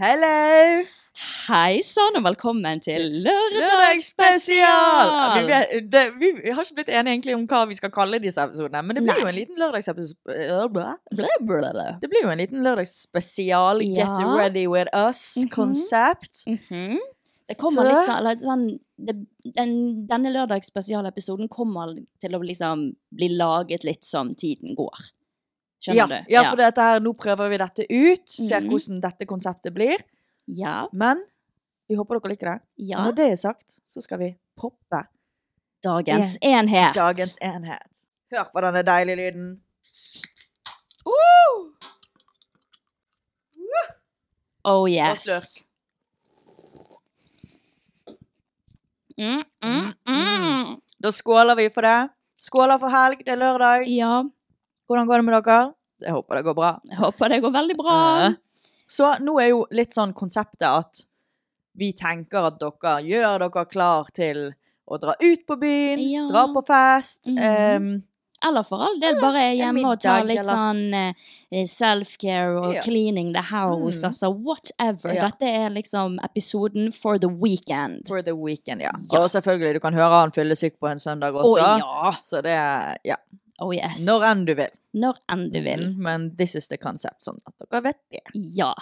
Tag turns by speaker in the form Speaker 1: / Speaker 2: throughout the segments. Speaker 1: Hello! Hei sann, og velkommen til
Speaker 2: Lørdagsspesial! Vi,
Speaker 1: Lørdagsspesial!
Speaker 2: ble- det, vi, vi har ikke blitt enige egentlig om hva vi skal kalle disse episodene, men det blir
Speaker 1: Nei.
Speaker 2: jo en liten lørdagsepisode. Øh,
Speaker 1: Bla, bla, bla.
Speaker 2: Det blir jo en liten lørdagsspesial Get
Speaker 1: Ja.
Speaker 2: ready with
Speaker 1: Mhm.
Speaker 2: us-konsept.
Speaker 1: Mhm. Det kommer
Speaker 2: Så-
Speaker 1: litt sånn, eller sånn det, den, Denne lørdagsspesialepisoden kommer til å liksom bli laget litt som tiden går.
Speaker 2: Ja,
Speaker 1: Skjønner du?
Speaker 2: ja, for dette her, nå prøver vi dette ut, ser
Speaker 1: Mhm.
Speaker 2: hvordan dette konseptet blir.
Speaker 1: ja,
Speaker 2: Men vi håper dere liker det.
Speaker 1: ja.
Speaker 2: Når det er sagt, så skal vi poppe
Speaker 1: Dagens enhet.
Speaker 2: dagens enhet. Hør på denne deilige lyden.
Speaker 1: Uh! Oh yes.
Speaker 2: slurk.
Speaker 1: Mm, mm, mm.
Speaker 2: Da skåler vi for det. Skåler for helg, det er lørdag.
Speaker 1: Ja,
Speaker 2: Hvordan går det med dere? Jeg håper det går bra.
Speaker 1: jeg håper det går veldig bra.
Speaker 2: Ja. Så nå er jo litt sånn konseptet at vi tenker at dere gjør dere klar til å dra ut på byen,
Speaker 1: Ja.
Speaker 2: dra på fest. ehm,
Speaker 1: Mhm.
Speaker 2: em,
Speaker 1: Eller for all del, bare er hjemme og tar
Speaker 2: middag,
Speaker 1: litt
Speaker 2: eller-
Speaker 1: sånn eh, self-care og
Speaker 2: Ja.
Speaker 1: cleaning the house,
Speaker 2: Mm.
Speaker 1: altså whatever.
Speaker 2: Ja.
Speaker 1: Dette er liksom episoden for the weekend.
Speaker 2: for the weekend, ja.
Speaker 1: Ja.
Speaker 2: Og selvfølgelig, du kan høre han fyllesyk på en søndag også.
Speaker 1: Å, ja.
Speaker 2: Så det er, ja,
Speaker 1: Oh yes.
Speaker 2: når enn du vil.
Speaker 1: Når enn du vil.
Speaker 2: Mm, Men this is the concept, sånn at dere vet det.
Speaker 1: Ja.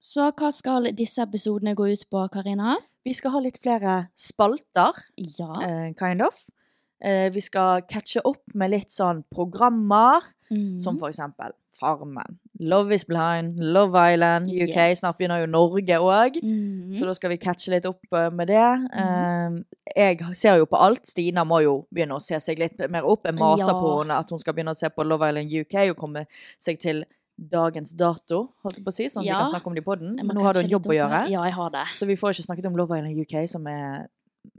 Speaker 1: Så hva skal disse episodene gå ut på, Karina?
Speaker 2: Vi skal ha litt flere spalter.
Speaker 1: Ja.
Speaker 2: eh, kind of. Eh, vi skal catche opp med litt sånn programmer,
Speaker 1: Mm.
Speaker 2: Eh, som for eksempel Farmen, Love is Blind, Love Island, UK.
Speaker 1: Yes.
Speaker 2: Snart begynner jo Norge òg,
Speaker 1: Mhm.
Speaker 2: så da skal vi catche litt opp eh, med det. Eh, jeg ser jo på alt. Stina må jo begynne å se seg litt mer opp. Jeg maser
Speaker 1: Ja.
Speaker 2: på henne at hun skal begynne å se på Love Island UK og komme seg til dagens dato, holdt jeg på å si, sånn at
Speaker 1: Ja.
Speaker 2: vi kan snakke om det i podden.
Speaker 1: Jeg må
Speaker 2: Men nå har du
Speaker 1: catche
Speaker 2: en
Speaker 1: litt
Speaker 2: jobb å
Speaker 1: opp
Speaker 2: gjøre.
Speaker 1: her. Ja, jeg har det.
Speaker 2: Så vi får ikke snakket om Love Island UK, som er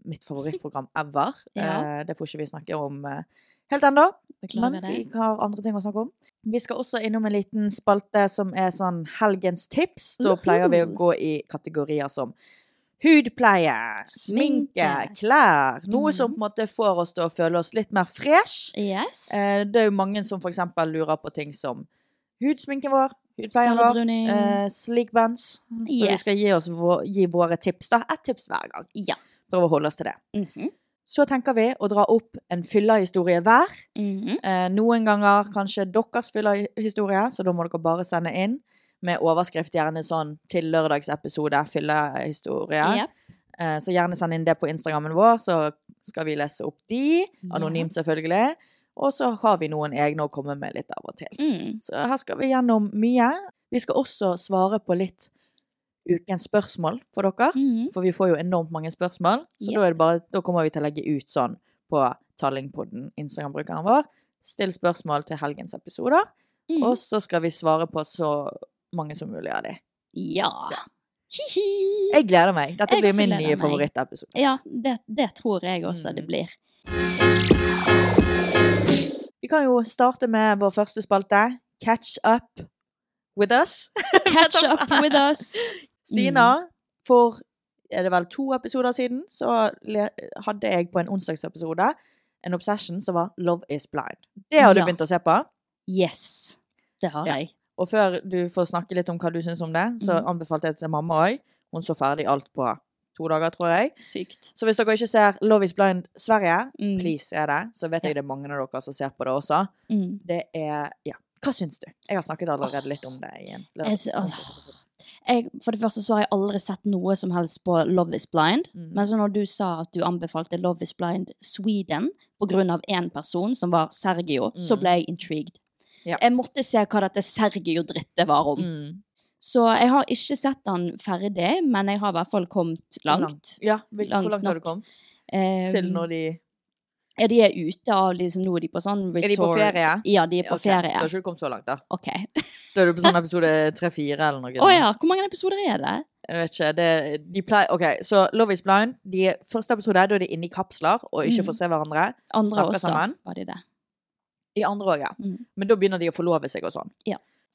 Speaker 2: mitt favorittprogram ever.
Speaker 1: Ja.
Speaker 2: Eh, Det får ikke vi snakke om eh, helt ennå, men
Speaker 1: Beklager det.
Speaker 2: vi har andre ting å snakke om. Vi skal også innom en liten spalte som er sånn helgens tips. Da
Speaker 1: Uhu.
Speaker 2: pleier vi å gå i kategorier som hudpleie, sminke,
Speaker 1: Sminke.
Speaker 2: klær. Noe
Speaker 1: Mhm.
Speaker 2: som på en måte får oss til å føle oss litt mer fresh.
Speaker 1: Yes.
Speaker 2: Eh, Det er jo mange som for eksempel lurer på ting som hudsminken vår, hudpleien vår,
Speaker 1: Salabruning.
Speaker 2: Eh, sleek bands. Så vi skal gi, oss vå gi våre tips, da. Ett tips hver gang.
Speaker 1: Ja.
Speaker 2: Prøve å holde oss til det.
Speaker 1: Mhm.
Speaker 2: Så tenker vi å dra opp en fyllehistorie hver.
Speaker 1: Mhm.
Speaker 2: Eh, noen ganger kanskje deres fyllehistorie, så da må dere bare sende inn. Med overskrift gjerne sånn 'til lørdagsepisode fyllehistorie'.
Speaker 1: Jep.
Speaker 2: Eh, så gjerne send inn det på Instagrammen vår, så skal vi lese opp de. Anonymt, selvfølgelig. Og så har vi noen egne å komme med litt av og til.
Speaker 1: Mm.
Speaker 2: Så her skal vi gjennom mye. Vi skal også svare på litt ukens spørsmål for dere.
Speaker 1: Mhm.
Speaker 2: For vi får jo enormt mange spørsmål. Så
Speaker 1: Yep.
Speaker 2: da, er det bare, da kommer vi til å legge ut sånn på Tallingpodden, Instagram-brukeren vår. Still spørsmål til helgens episoder,
Speaker 1: Mhm.
Speaker 2: og så skal vi svare på så mange som mulig av de.
Speaker 1: Ja.
Speaker 2: Så.
Speaker 1: Hihi!
Speaker 2: Jeg gleder meg. Dette
Speaker 1: Jeg
Speaker 2: blir
Speaker 1: også
Speaker 2: min
Speaker 1: gleder
Speaker 2: nye
Speaker 1: meg.
Speaker 2: favorittepisode.
Speaker 1: Ja, det, det tror jeg også
Speaker 2: Mm.
Speaker 1: det blir.
Speaker 2: Vi kan jo starte med vår første spalte, Catch up with us.
Speaker 1: Catch up with us! Mm.
Speaker 2: Stina, for er det vel to episoder siden, så le- hadde jeg på en onsdagsepisode en obsession som var Love is blind. Det har du
Speaker 1: Ja.
Speaker 2: begynt å se på.
Speaker 1: Yes. Det har
Speaker 2: Ja.
Speaker 1: jeg.
Speaker 2: Og før du får snakke litt om hva du syns om det, så
Speaker 1: Mhm.
Speaker 2: anbefalte jeg det til mamma òg. Hun så ferdig alt på to dager, tror jeg.
Speaker 1: Sykt.
Speaker 2: Så hvis dere ikke ser Love is blind Sverige,
Speaker 1: Mm.
Speaker 2: please er det, så vet jeg det er mange av dere som ser på det også.
Speaker 1: Mm.
Speaker 2: Det er Ja. Hva syns du? Jeg har snakket allerede litt om det i en
Speaker 1: Jeg, altså, sy- åh. jeg, for det første så har jeg aldri sett noe som helst på Love is Blind.
Speaker 2: Mhm.
Speaker 1: Men så når du sa at du anbefalte Love is Blind Sweden på grunn av én person, som var Sergio, så
Speaker 2: Mhm.
Speaker 1: ble jeg intrigued.
Speaker 2: Ja.
Speaker 1: Jeg måtte se hva dette Sergio-drittet var om.
Speaker 2: Mm.
Speaker 1: Så jeg har ikke sett den ferdig, men jeg har i hvert fall kommet langt.
Speaker 2: Ja, vil,
Speaker 1: Langt
Speaker 2: hvor langt har du
Speaker 1: nok.
Speaker 2: kommet?
Speaker 1: Eh,
Speaker 2: Til når de
Speaker 1: Ja, de er ute av liksom, Nå er de på sånn resort.
Speaker 2: Er de på ferie?
Speaker 1: Ja, de er på
Speaker 2: Ok, Da
Speaker 1: ferie.
Speaker 2: har ikke du kommet så langt, da.
Speaker 1: Ok. Å
Speaker 2: Da er du på sånn episode 3-4 eller noe. sånt.
Speaker 1: ja, hvor mange episoder er det?
Speaker 2: Jeg vet ikke. Det, de pleier OK, så Love is blind. De første episode, da er de inne i kapsler og ikke
Speaker 1: Mm.
Speaker 2: får se hverandre.
Speaker 1: Andre
Speaker 2: Snakker
Speaker 1: også,
Speaker 2: sammen.
Speaker 1: var de det.
Speaker 2: I andre òg, ja.
Speaker 1: Mm.
Speaker 2: Men da begynner de å forlove seg og sånn.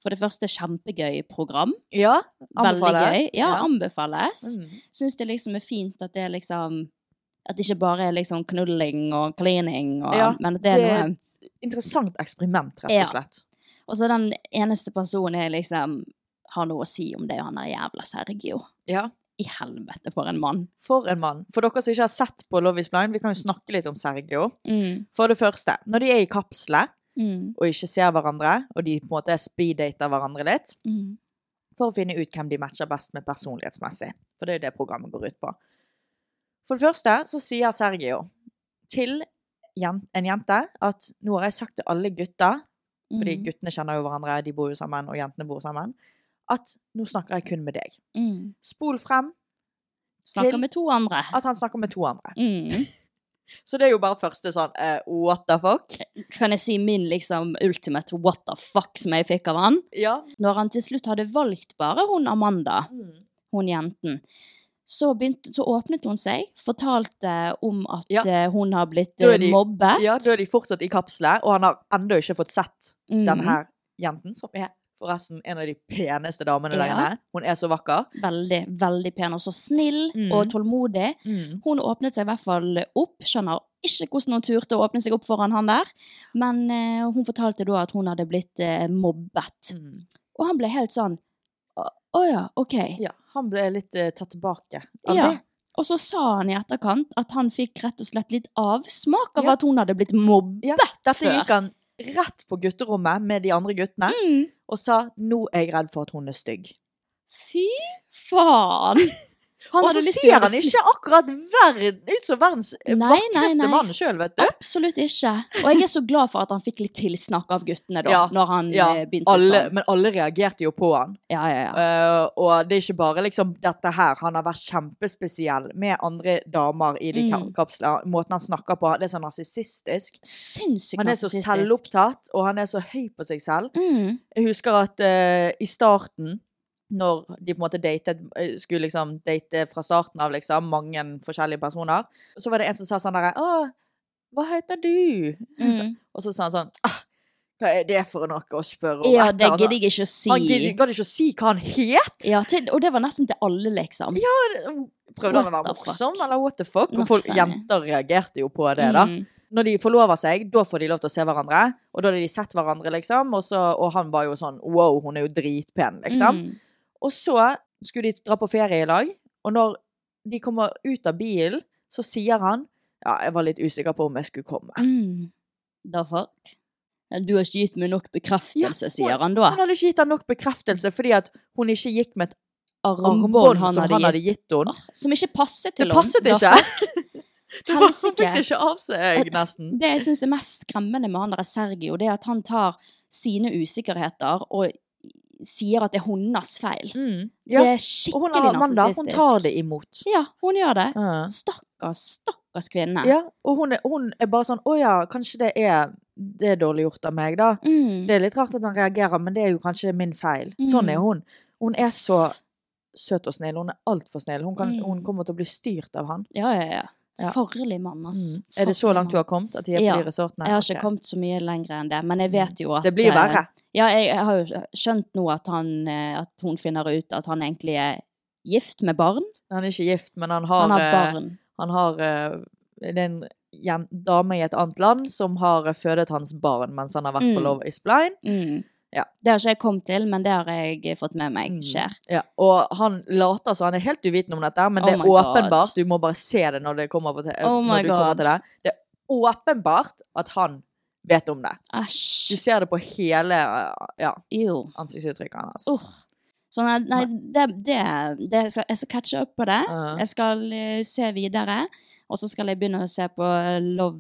Speaker 1: For det første, kjempegøy program.
Speaker 2: Ja.
Speaker 1: Veldig gøy. Ja, anbefales.
Speaker 2: Mm.
Speaker 1: Syns det liksom er fint at det er liksom At det ikke bare er liksom knulling og cleaning, og,
Speaker 2: Ja,
Speaker 1: men at det er
Speaker 2: det-
Speaker 1: noe
Speaker 2: Interessant eksperiment, rett
Speaker 1: Ja.
Speaker 2: og slett.
Speaker 1: Og så den eneste personen jeg liksom har noe å si om det, og han er jævla Sergio.
Speaker 2: Ja.
Speaker 1: I helvete, for en mann.
Speaker 2: For en mann. For dere som ikke har sett på Love is blind, vi kan jo snakke litt om Sergio.
Speaker 1: Mm.
Speaker 2: For det første, når de er i kapsler
Speaker 1: Mm.
Speaker 2: og ikke ser hverandre, og de på en måte speeddater hverandre litt,
Speaker 1: Mm.
Speaker 2: for å finne ut hvem de matcher best med personlighetsmessig. For det er jo det programmet går ut på. For det første så sier Sergio til jen- en jente at nå har jeg sagt til alle gutta, fordi
Speaker 1: Mm.
Speaker 2: guttene kjenner jo hverandre, de bor jo sammen, og jentene bor sammen, at nå snakker jeg kun med deg.
Speaker 1: Mm.
Speaker 2: Spol frem
Speaker 1: Snakker
Speaker 2: til
Speaker 1: med to andre.
Speaker 2: at han snakker med to andre.
Speaker 1: Mm.
Speaker 2: Så det er jo bare første sånn eh, what the fuck?
Speaker 1: Kan jeg si min liksom ultimate what the fuck som jeg fikk av han?
Speaker 2: Ja.
Speaker 1: Når han til slutt hadde valgt bare hun Amanda, hun jenten, så, begynte, så åpnet hun seg, fortalte om at
Speaker 2: Ja.
Speaker 1: eh, hun har blitt
Speaker 2: Da er
Speaker 1: eh,
Speaker 2: de-
Speaker 1: mobbet.
Speaker 2: Ja, da er de fortsatt i kapselet, og han har ennå ikke fått sett
Speaker 1: Mm.
Speaker 2: denne her jenten, som er forresten en av de peneste damene der
Speaker 1: Ja.
Speaker 2: inne. Hun er så vakker.
Speaker 1: Veldig, veldig pen og så snill
Speaker 2: Mm.
Speaker 1: og tålmodig. Hun åpnet seg i hvert fall opp, skjønner ikke hvordan hun turte å åpne seg opp foran han der, men eh, hun fortalte da at hun hadde blitt eh, mobbet. Og han ble helt sånn, å å ja, ok.
Speaker 2: Ja, han ble litt eh, tatt tilbake av
Speaker 1: Ja.
Speaker 2: det.
Speaker 1: Og så sa han i etterkant at han fikk rett og slett litt avsmak av
Speaker 2: Ja.
Speaker 1: at hun hadde blitt mobbet.
Speaker 2: Ja, dette gikk han rett på gutterommet med de andre guttene,
Speaker 1: Mm.
Speaker 2: og sa 'nå er jeg redd for at hun er stygg'.
Speaker 1: Fy faen!
Speaker 2: Og så ser han ikke akkurat verden, ut som verdens eh,
Speaker 1: Nei, nei, nei.
Speaker 2: vakreste mann sjøl, vet du.
Speaker 1: Absolutt ikke. Og jeg er så glad for at han fikk litt tilsnakk av guttene da,
Speaker 2: Ja,
Speaker 1: når han
Speaker 2: Ja,
Speaker 1: eh, begynte
Speaker 2: alle,
Speaker 1: sånn.
Speaker 2: men alle reagerte jo på han.
Speaker 1: Ja, ja, ja.
Speaker 2: Eh, og det er ikke bare liksom dette her. Han har vært kjempespesiell med andre damer i de ka-
Speaker 1: Mm.
Speaker 2: kapslene. Måten han snakker på, det er så narsissistisk.
Speaker 1: Sinnssykt
Speaker 2: Han er så
Speaker 1: narsissistisk.
Speaker 2: selvopptatt, og han er så høy på seg selv.
Speaker 1: Mm.
Speaker 2: Jeg husker at eh, i starten, når de på en måte datet, eh, skulle liksom date fra starten av liksom, mange forskjellige personer, så var det en som sa sånn derre Å, hva heter du? Så,
Speaker 1: Mm.
Speaker 2: og så sa han sånn ah, Hva er det for noe å spørre om?
Speaker 1: Ja,
Speaker 2: etter?»
Speaker 1: det
Speaker 2: Han sa-
Speaker 1: gidder jeg ikke å si.
Speaker 2: altså. Han gidder- gadd ikke å si hva han het!
Speaker 1: Ja, til, og det var nesten til alle, liksom. Ja,
Speaker 2: Prøvde han å
Speaker 1: What
Speaker 2: være
Speaker 1: the
Speaker 2: morsom,
Speaker 1: fuck?
Speaker 2: eller what the fuck? Og
Speaker 1: Not
Speaker 2: folk,
Speaker 1: funny. Mm.
Speaker 2: jenter reagerte jo på det, da. Når de forlover seg, da får de lov til å se hverandre. Og da hadde de sett hverandre, liksom. Og, så, og han var jo sånn Wow, hun er jo dritpen, liksom.
Speaker 1: Mm.
Speaker 2: Og så skulle de dra på ferie i lag, og når de kommer ut av bilen, så sier han ja, jeg var litt usikker på om jeg skulle komme.
Speaker 1: Mm. Da fuck. Du har ikke gitt meg nok
Speaker 2: Ja,
Speaker 1: bekreftelse,
Speaker 2: hun-
Speaker 1: sier han da.
Speaker 2: Han hadde ikke gitt ham nok bekreftelse fordi at hun ikke gikk med et
Speaker 1: Armbånd
Speaker 2: armbånd
Speaker 1: han
Speaker 2: som
Speaker 1: hadde
Speaker 2: han
Speaker 1: gitt.
Speaker 2: hadde gitt henne.
Speaker 1: Åh, Som ikke passet
Speaker 2: Det
Speaker 1: til
Speaker 2: passet
Speaker 1: Da
Speaker 2: ikke!
Speaker 1: fuck.
Speaker 2: Det var, hun
Speaker 1: Helsike.
Speaker 2: fikk det ikke av seg, nesten.
Speaker 1: Det jeg syns er mest skremmende med han der Sergio, det er at han tar sine usikkerheter og sier at det er hennes feil.
Speaker 2: Mm.
Speaker 1: Det
Speaker 2: Ja.
Speaker 1: er
Speaker 2: Og hun
Speaker 1: skikkelig
Speaker 2: Amanda, hun tar
Speaker 1: narsissistisk.
Speaker 2: det imot.
Speaker 1: Ja, hun gjør det.
Speaker 2: Ja.
Speaker 1: Stakkars, stakkars kvinne.
Speaker 2: Ja, og hun er, hun er bare sånn Å ja, kanskje det er, det er dårlig gjort av meg, da.
Speaker 1: Mm.
Speaker 2: Det er litt rart at han reagerer, men det er jo kanskje min feil. Sånn er
Speaker 1: Mm.
Speaker 2: hun. Hun er så søt og snill. Hun er altfor snill. Hun, kan,
Speaker 1: Mm.
Speaker 2: hun kommer til å bli styrt av han.
Speaker 1: Ja, ja, ja.
Speaker 2: Ja.
Speaker 1: Farlig mann, ass.
Speaker 2: Mm. Er det så langt du har kommet at de er på
Speaker 1: Ja.
Speaker 2: de resortene?
Speaker 1: Jeg har ikke
Speaker 2: Ok. Mm.
Speaker 1: kommet så mye lenger enn det, men jeg vet jo at eh,
Speaker 2: Det blir verre.
Speaker 1: Ja, jeg, jeg har jo skjønt nå at, han, eh, at hun finner ut at han egentlig er gift med barn.
Speaker 2: Han er ikke gift, men han har,
Speaker 1: Han har
Speaker 2: eh,
Speaker 1: barn.
Speaker 2: han har eh, Det er en jen- dame i et annet land som har eh, fødet hans barn mens han har vært
Speaker 1: Mm.
Speaker 2: på Love is Blind.
Speaker 1: Mm.
Speaker 2: Ja.
Speaker 1: Det har ikke jeg kommet til, men det har jeg eh, fått med
Speaker 2: Mm.
Speaker 1: meg skjer.
Speaker 2: Ja, og han later så, han er helt uvitende om dette, men
Speaker 1: Oh
Speaker 2: det er
Speaker 1: my God.
Speaker 2: åpenbart. Du må bare se det når, det kommer på te
Speaker 1: Oh
Speaker 2: når
Speaker 1: my
Speaker 2: du kommer
Speaker 1: God.
Speaker 2: til det. Det er åpenbart at han vet om det. Du
Speaker 1: Æsj.
Speaker 2: ser det på hele eh, ja,
Speaker 1: Jo.
Speaker 2: ansiktsuttrykket hans.
Speaker 1: Uh. Så nei, nei det, det, det jeg, skal, jeg skal catche opp på det.
Speaker 2: Ja.
Speaker 1: Jeg skal eh, se videre. Og så skal jeg begynne å se på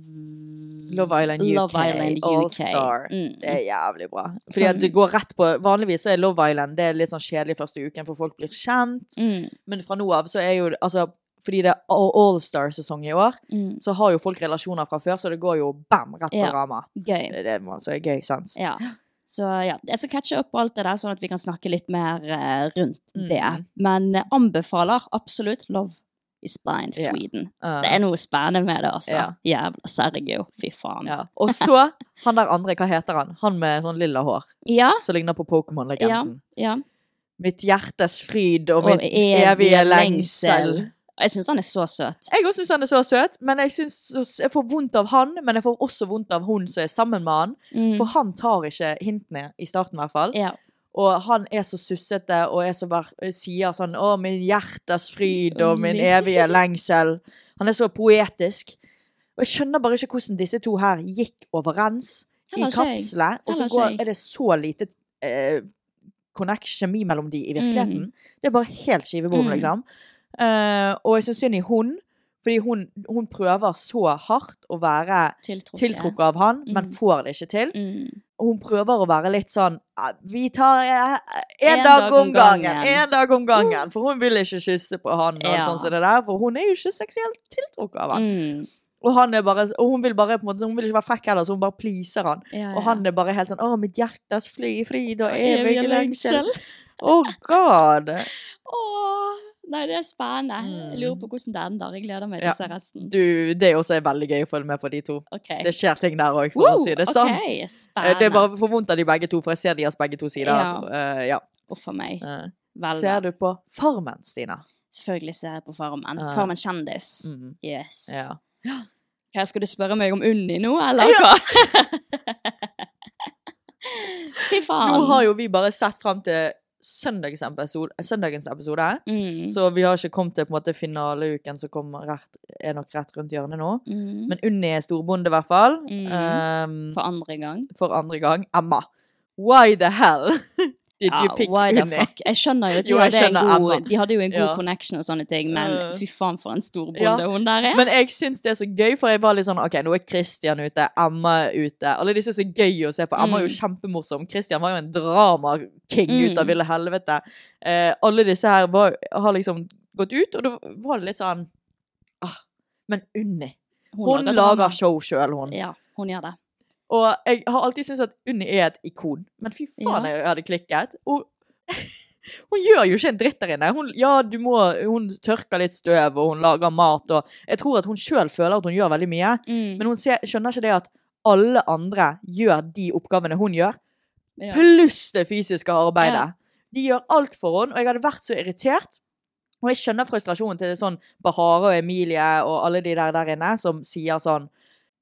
Speaker 1: Love
Speaker 2: Love Island UK,
Speaker 1: Love Island UK.
Speaker 2: All Star.
Speaker 1: Mm.
Speaker 2: Det er jævlig bra. Fordi
Speaker 1: Sånn.
Speaker 2: at det går rett på Vanligvis så er Love Island det er litt sånn kjedelig første uken, for folk blir kjent.
Speaker 1: Mm.
Speaker 2: Men fra nå av så er jo altså, Fordi det er All- All-Star-sesong i år,
Speaker 1: Mm.
Speaker 2: så har jo folk relasjoner fra før, så det går jo bam, rett på
Speaker 1: Ja.
Speaker 2: rama.
Speaker 1: Gøy.
Speaker 2: Det er det man- som er gøy, sant?
Speaker 1: Ja. Så ja, jeg skal catche opp på alt det der, sånn at vi kan snakke litt mer eh, rundt det.
Speaker 2: Mm.
Speaker 1: Men eh, anbefaler absolutt Love is Blind
Speaker 2: Ja.
Speaker 1: Sweden.
Speaker 2: Uh,
Speaker 1: Det er noe spennende med det, altså. Jævla Sergio, fy faen.
Speaker 2: ja. Og så han der andre, hva heter han? Han med sånn lilla hår,
Speaker 1: Ja,
Speaker 2: som ligner på Pokémon-legenden.
Speaker 1: ja.
Speaker 2: Mitt hjertes fryd og,
Speaker 1: Og
Speaker 2: mitt evige,
Speaker 1: evige
Speaker 2: lengsel.
Speaker 1: lengsel. Jeg syns han er så søt.
Speaker 2: Jeg også syns han er så søt, men jeg, synes, jeg får vondt av han. Men jeg får også vondt av hun som er sammen med han.
Speaker 1: Mm.
Speaker 2: For han tar ikke hintene, i starten i hvert fall.
Speaker 1: Ja.
Speaker 2: Og han er så sussete og er så ver sier sånn 'Å, min hjertes fryd og min
Speaker 1: Mm.
Speaker 2: evige lengsel'. Han er så poetisk. Og jeg skjønner bare ikke hvordan disse to her gikk overens i
Speaker 1: Heller ikke jeg.
Speaker 2: kapselet. Og så
Speaker 1: Heller ikke
Speaker 2: går,
Speaker 1: jeg.
Speaker 2: er det så lite eh, connect, kjemi mellom de i virkeligheten. Det er bare helt skivebom,
Speaker 1: Mm.
Speaker 2: liksom. Eh, og jeg syns synd i hun, fordi hun, hun prøver så hardt å være
Speaker 1: Tiltrukket.
Speaker 2: tiltrukket av han, men
Speaker 1: Mm.
Speaker 2: får det ikke til.
Speaker 1: Mm.
Speaker 2: Og hun prøver å være litt sånn «Ja, Vi tar eh, en
Speaker 1: En
Speaker 2: dag
Speaker 1: dag
Speaker 2: om
Speaker 1: om
Speaker 2: gangen!
Speaker 1: gangen.»
Speaker 2: En dag om gangen! For hun vil ikke kysse på han, og
Speaker 1: Ja.
Speaker 2: sånn som det der, for hun er jo ikke seksuelt tiltrukket av han.
Speaker 1: Mm.
Speaker 2: Og, han er bare, og hun vil bare på en måte, hun vil ikke være frekk heller, så hun bare pleaser han.
Speaker 1: Ja,
Speaker 2: Og
Speaker 1: ja.
Speaker 2: han er bare helt sånn 'Å, mitt hjertes fly, fryd og
Speaker 1: Evige
Speaker 2: evige lengsel'.
Speaker 1: lengsel.
Speaker 2: Oh god!
Speaker 1: Åh, nei, det er spennende. Jeg lurer på hvordan det ender. Jeg gleder meg til
Speaker 2: Mm. Ja.
Speaker 1: å se resten.
Speaker 2: Du, det er også veldig gøy å følge med på de to.
Speaker 1: Ok.
Speaker 2: Det skjer ting der òg, for
Speaker 1: Wow,
Speaker 2: å si det
Speaker 1: ok,
Speaker 2: sånn. Eh,
Speaker 1: Spennende.
Speaker 2: Det er bare for vondt av de begge to, for jeg ser deres begge to sider.
Speaker 1: Ja.
Speaker 2: Eh, ja.
Speaker 1: Og for meg.
Speaker 2: Eh,
Speaker 1: Vel,
Speaker 2: Ser du på Farmen, Stina?
Speaker 1: Selvfølgelig ser jeg på Farmen.
Speaker 2: Ja.
Speaker 1: Farmen kjendis.
Speaker 2: Mm.
Speaker 1: Yes.
Speaker 2: Ja.
Speaker 1: Hva, skal du spørre meg om Unni nå, eller
Speaker 2: Ja.
Speaker 1: hva? Fy faen.
Speaker 2: Nå har jo vi bare sett frem til søndagens episode, søndagens episode
Speaker 1: mm.
Speaker 2: så vi har ikke kommet til på en måte finaleuken som kommer rett, er nok rett rundt hjørnet nå.
Speaker 1: mm.
Speaker 2: Men Unni er storbonde, i hvert fall.
Speaker 1: Mm.
Speaker 2: Ehm,
Speaker 1: For andre gang.
Speaker 2: for andre gang. Emma. Why the hell did you pick
Speaker 1: Ah, why the
Speaker 2: Unni?
Speaker 1: fuck? Jeg skjønner jo at de,
Speaker 2: Jo, jeg
Speaker 1: hadde, en
Speaker 2: skjønner
Speaker 1: god,
Speaker 2: Emma.
Speaker 1: de hadde jo en god
Speaker 2: Ja.
Speaker 1: connection og sånne ting, men
Speaker 2: Ja.
Speaker 1: fy faen for en storbonde
Speaker 2: Ja.
Speaker 1: hun der er.
Speaker 2: Men jeg syns det er så gøy, for jeg var litt sånn OK, nå er Christian ute, Emma er ute. Alle disse er så gøy å se på. Emma er jo
Speaker 1: Mm.
Speaker 2: kjempemorsom. Christian var jo en dramaking ut av
Speaker 1: Mm.
Speaker 2: ville helvete. Eh, alle disse her var, har liksom gått ut, og da var det litt sånn ah, Men Unni Hun lager
Speaker 1: drama.
Speaker 2: show sjøl, hun.
Speaker 1: Ja, hun gjør det.
Speaker 2: Og jeg har alltid syntes at Unni er et ikon, men fy faen,
Speaker 1: Ja.
Speaker 2: jeg hadde klikket. Og hun gjør jo ikke en dritt der inne. Hun, ja, du må, hun tørker litt støv, og hun lager mat, og jeg tror at hun sjøl føler at hun gjør veldig mye,
Speaker 1: Mm.
Speaker 2: men hun ser, skjønner ikke det at alle andre gjør de oppgavene hun gjør,
Speaker 1: Ja.
Speaker 2: pluss det fysiske arbeidet.
Speaker 1: Ja.
Speaker 2: De gjør alt for henne, og jeg hadde vært så irritert. Og jeg skjønner frustrasjonen til sånn Bahare og Emilie og alle de der der inne som sier sånn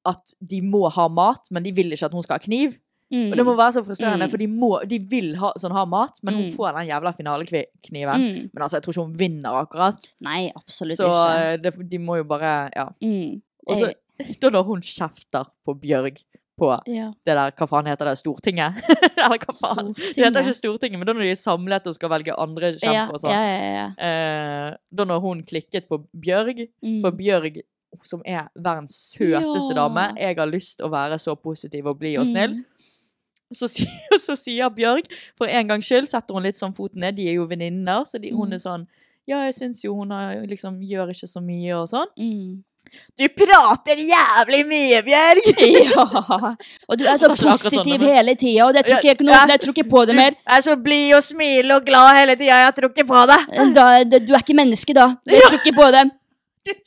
Speaker 2: at de må ha mat, men de vil ikke at hun skal ha kniv.
Speaker 1: Mm.
Speaker 2: Og det må være så frustrerende,
Speaker 1: Mm.
Speaker 2: for de, må, de vil ha, sånn, ha mat, men hun
Speaker 1: Mm.
Speaker 2: får den jævla finalekniven.
Speaker 1: mm.
Speaker 2: Men altså, jeg tror ikke hun vinner akkurat.
Speaker 1: Nei, absolutt
Speaker 2: Så
Speaker 1: ikke.
Speaker 2: eh, det, de må jo bare Ja.
Speaker 1: Mm.
Speaker 2: Og så,
Speaker 1: Jeg-
Speaker 2: da når hun kjefter på Bjørg på
Speaker 1: ja.
Speaker 2: det der, hva faen heter det, Stortinget? Eller hva faen? Det heter ikke Stortinget, men da når de er samlet og skal velge andre kjemper
Speaker 1: ja,
Speaker 2: og
Speaker 1: ja,
Speaker 2: sånn.
Speaker 1: ja, ja.
Speaker 2: Eh, da når hun klikket på Bjørg,
Speaker 1: Mm.
Speaker 2: for Bjørg som er verdens søteste
Speaker 1: Ja.
Speaker 2: dame. Jeg har lyst å være så positiv og blid og
Speaker 1: Mm.
Speaker 2: snill. Så, si- og så sier Bjørg, for en gangs skyld setter hun litt sånn foten ned, de er jo venninner, så de, hun
Speaker 1: Mm.
Speaker 2: er sånn Ja, jeg syns jo hun har, liksom, gjør ikke så mye og sånn.
Speaker 1: Mm.
Speaker 2: Du prater jævlig mye, Bjørg!
Speaker 1: Ja. Og du er
Speaker 2: Sa
Speaker 1: så
Speaker 2: ikke akkurat sånn,
Speaker 1: positiv
Speaker 2: men-
Speaker 1: hele tida, og det tror ikke jeg, noe,
Speaker 2: Ja.
Speaker 1: jeg tror ikke på det mer.
Speaker 2: Du er så blid og smiler og glad hele tida. Jeg tror ikke på deg.
Speaker 1: Da, det, du er ikke menneske, da. Jeg tror ikke på det.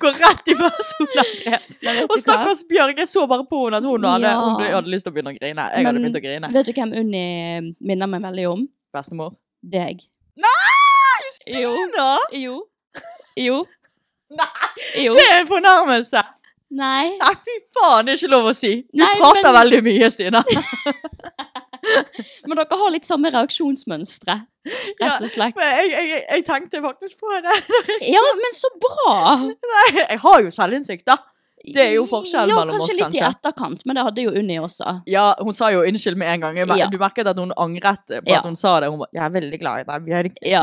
Speaker 2: Går rett i personlighet.
Speaker 1: Men vet
Speaker 2: Og
Speaker 1: du hva?
Speaker 2: stakkars Bjørg, jeg så bare på henne at hun hadde,
Speaker 1: Ja.
Speaker 2: hun ble, hadde lyst til å begynne å grine. Jeg hadde
Speaker 1: Men-
Speaker 2: begynt å grine.
Speaker 1: Vet du hvem Unni eh, minner meg veldig om?
Speaker 2: Bestemor.
Speaker 1: Deg. Jo.
Speaker 2: Stina!
Speaker 1: Jo. Jo.
Speaker 2: Nei,
Speaker 1: Jo.
Speaker 2: det er en fornærmelse!
Speaker 1: Nei.
Speaker 2: Nei, fy faen, det er ikke lov å si. Du
Speaker 1: Nei,
Speaker 2: prater
Speaker 1: men-
Speaker 2: veldig mye, Stina.
Speaker 1: Men dere har litt samme reaksjonsmønstre, rett og slett.
Speaker 2: Men jeg, jeg, jeg tenkte faktisk på det.
Speaker 1: Ja, men så bra!
Speaker 2: Nei, jeg har jo selvinnsikt, da. Det er jo forskjellen
Speaker 1: ja,
Speaker 2: mellom oss,
Speaker 1: kanskje. litt i
Speaker 2: kanskje.
Speaker 1: etterkant, men det hadde jo Unni også.
Speaker 2: Ja, hun sa jo unnskyld med en gang. Jeg mer-
Speaker 1: Ja.
Speaker 2: Du merket at hun angret på
Speaker 1: Ja.
Speaker 2: at hun sa det. Hun var, jeg er veldig glad i deg, Bjørg.
Speaker 1: Ja.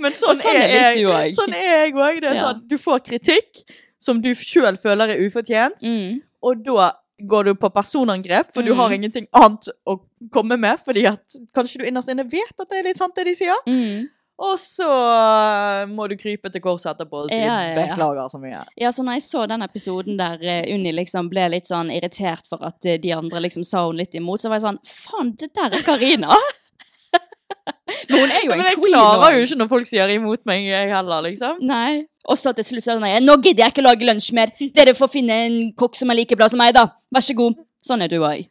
Speaker 2: Men sånn,
Speaker 1: sånn
Speaker 2: er,
Speaker 1: er litt du
Speaker 2: jeg.
Speaker 1: også.
Speaker 2: Sånn er jeg òg. Det er
Speaker 1: Ja.
Speaker 2: sånn, du får kritikk som du sjøl føler er ufortjent,
Speaker 1: mm.
Speaker 2: og da går du på personangrep, for du
Speaker 1: Mm.
Speaker 2: har ingenting annet å komme med, fordi at kanskje du innerst inne vet at det er litt sant, det de sier.
Speaker 1: Mm.
Speaker 2: Og så eh, må du krype til korset etterpå og si
Speaker 1: Ja, ja, ja.
Speaker 2: beklager så mye.
Speaker 1: Ja, så når jeg så den episoden der eh, Unni liksom ble litt sånn irritert for at eh, de andre liksom sa hun litt imot, så var jeg sånn Faen, det der er Karina! Men hun er jo en
Speaker 2: Men jeg
Speaker 1: queen.
Speaker 2: klarer
Speaker 1: også.
Speaker 2: jo ikke når folk sier imot meg, jeg heller, liksom.
Speaker 1: Nei. Og så til slutt så sa jeg nå gidder jeg ikke lage lunsj mer. Dere får finne en kokk som er like bra som meg, da. Vær så god. Sånn er du òg.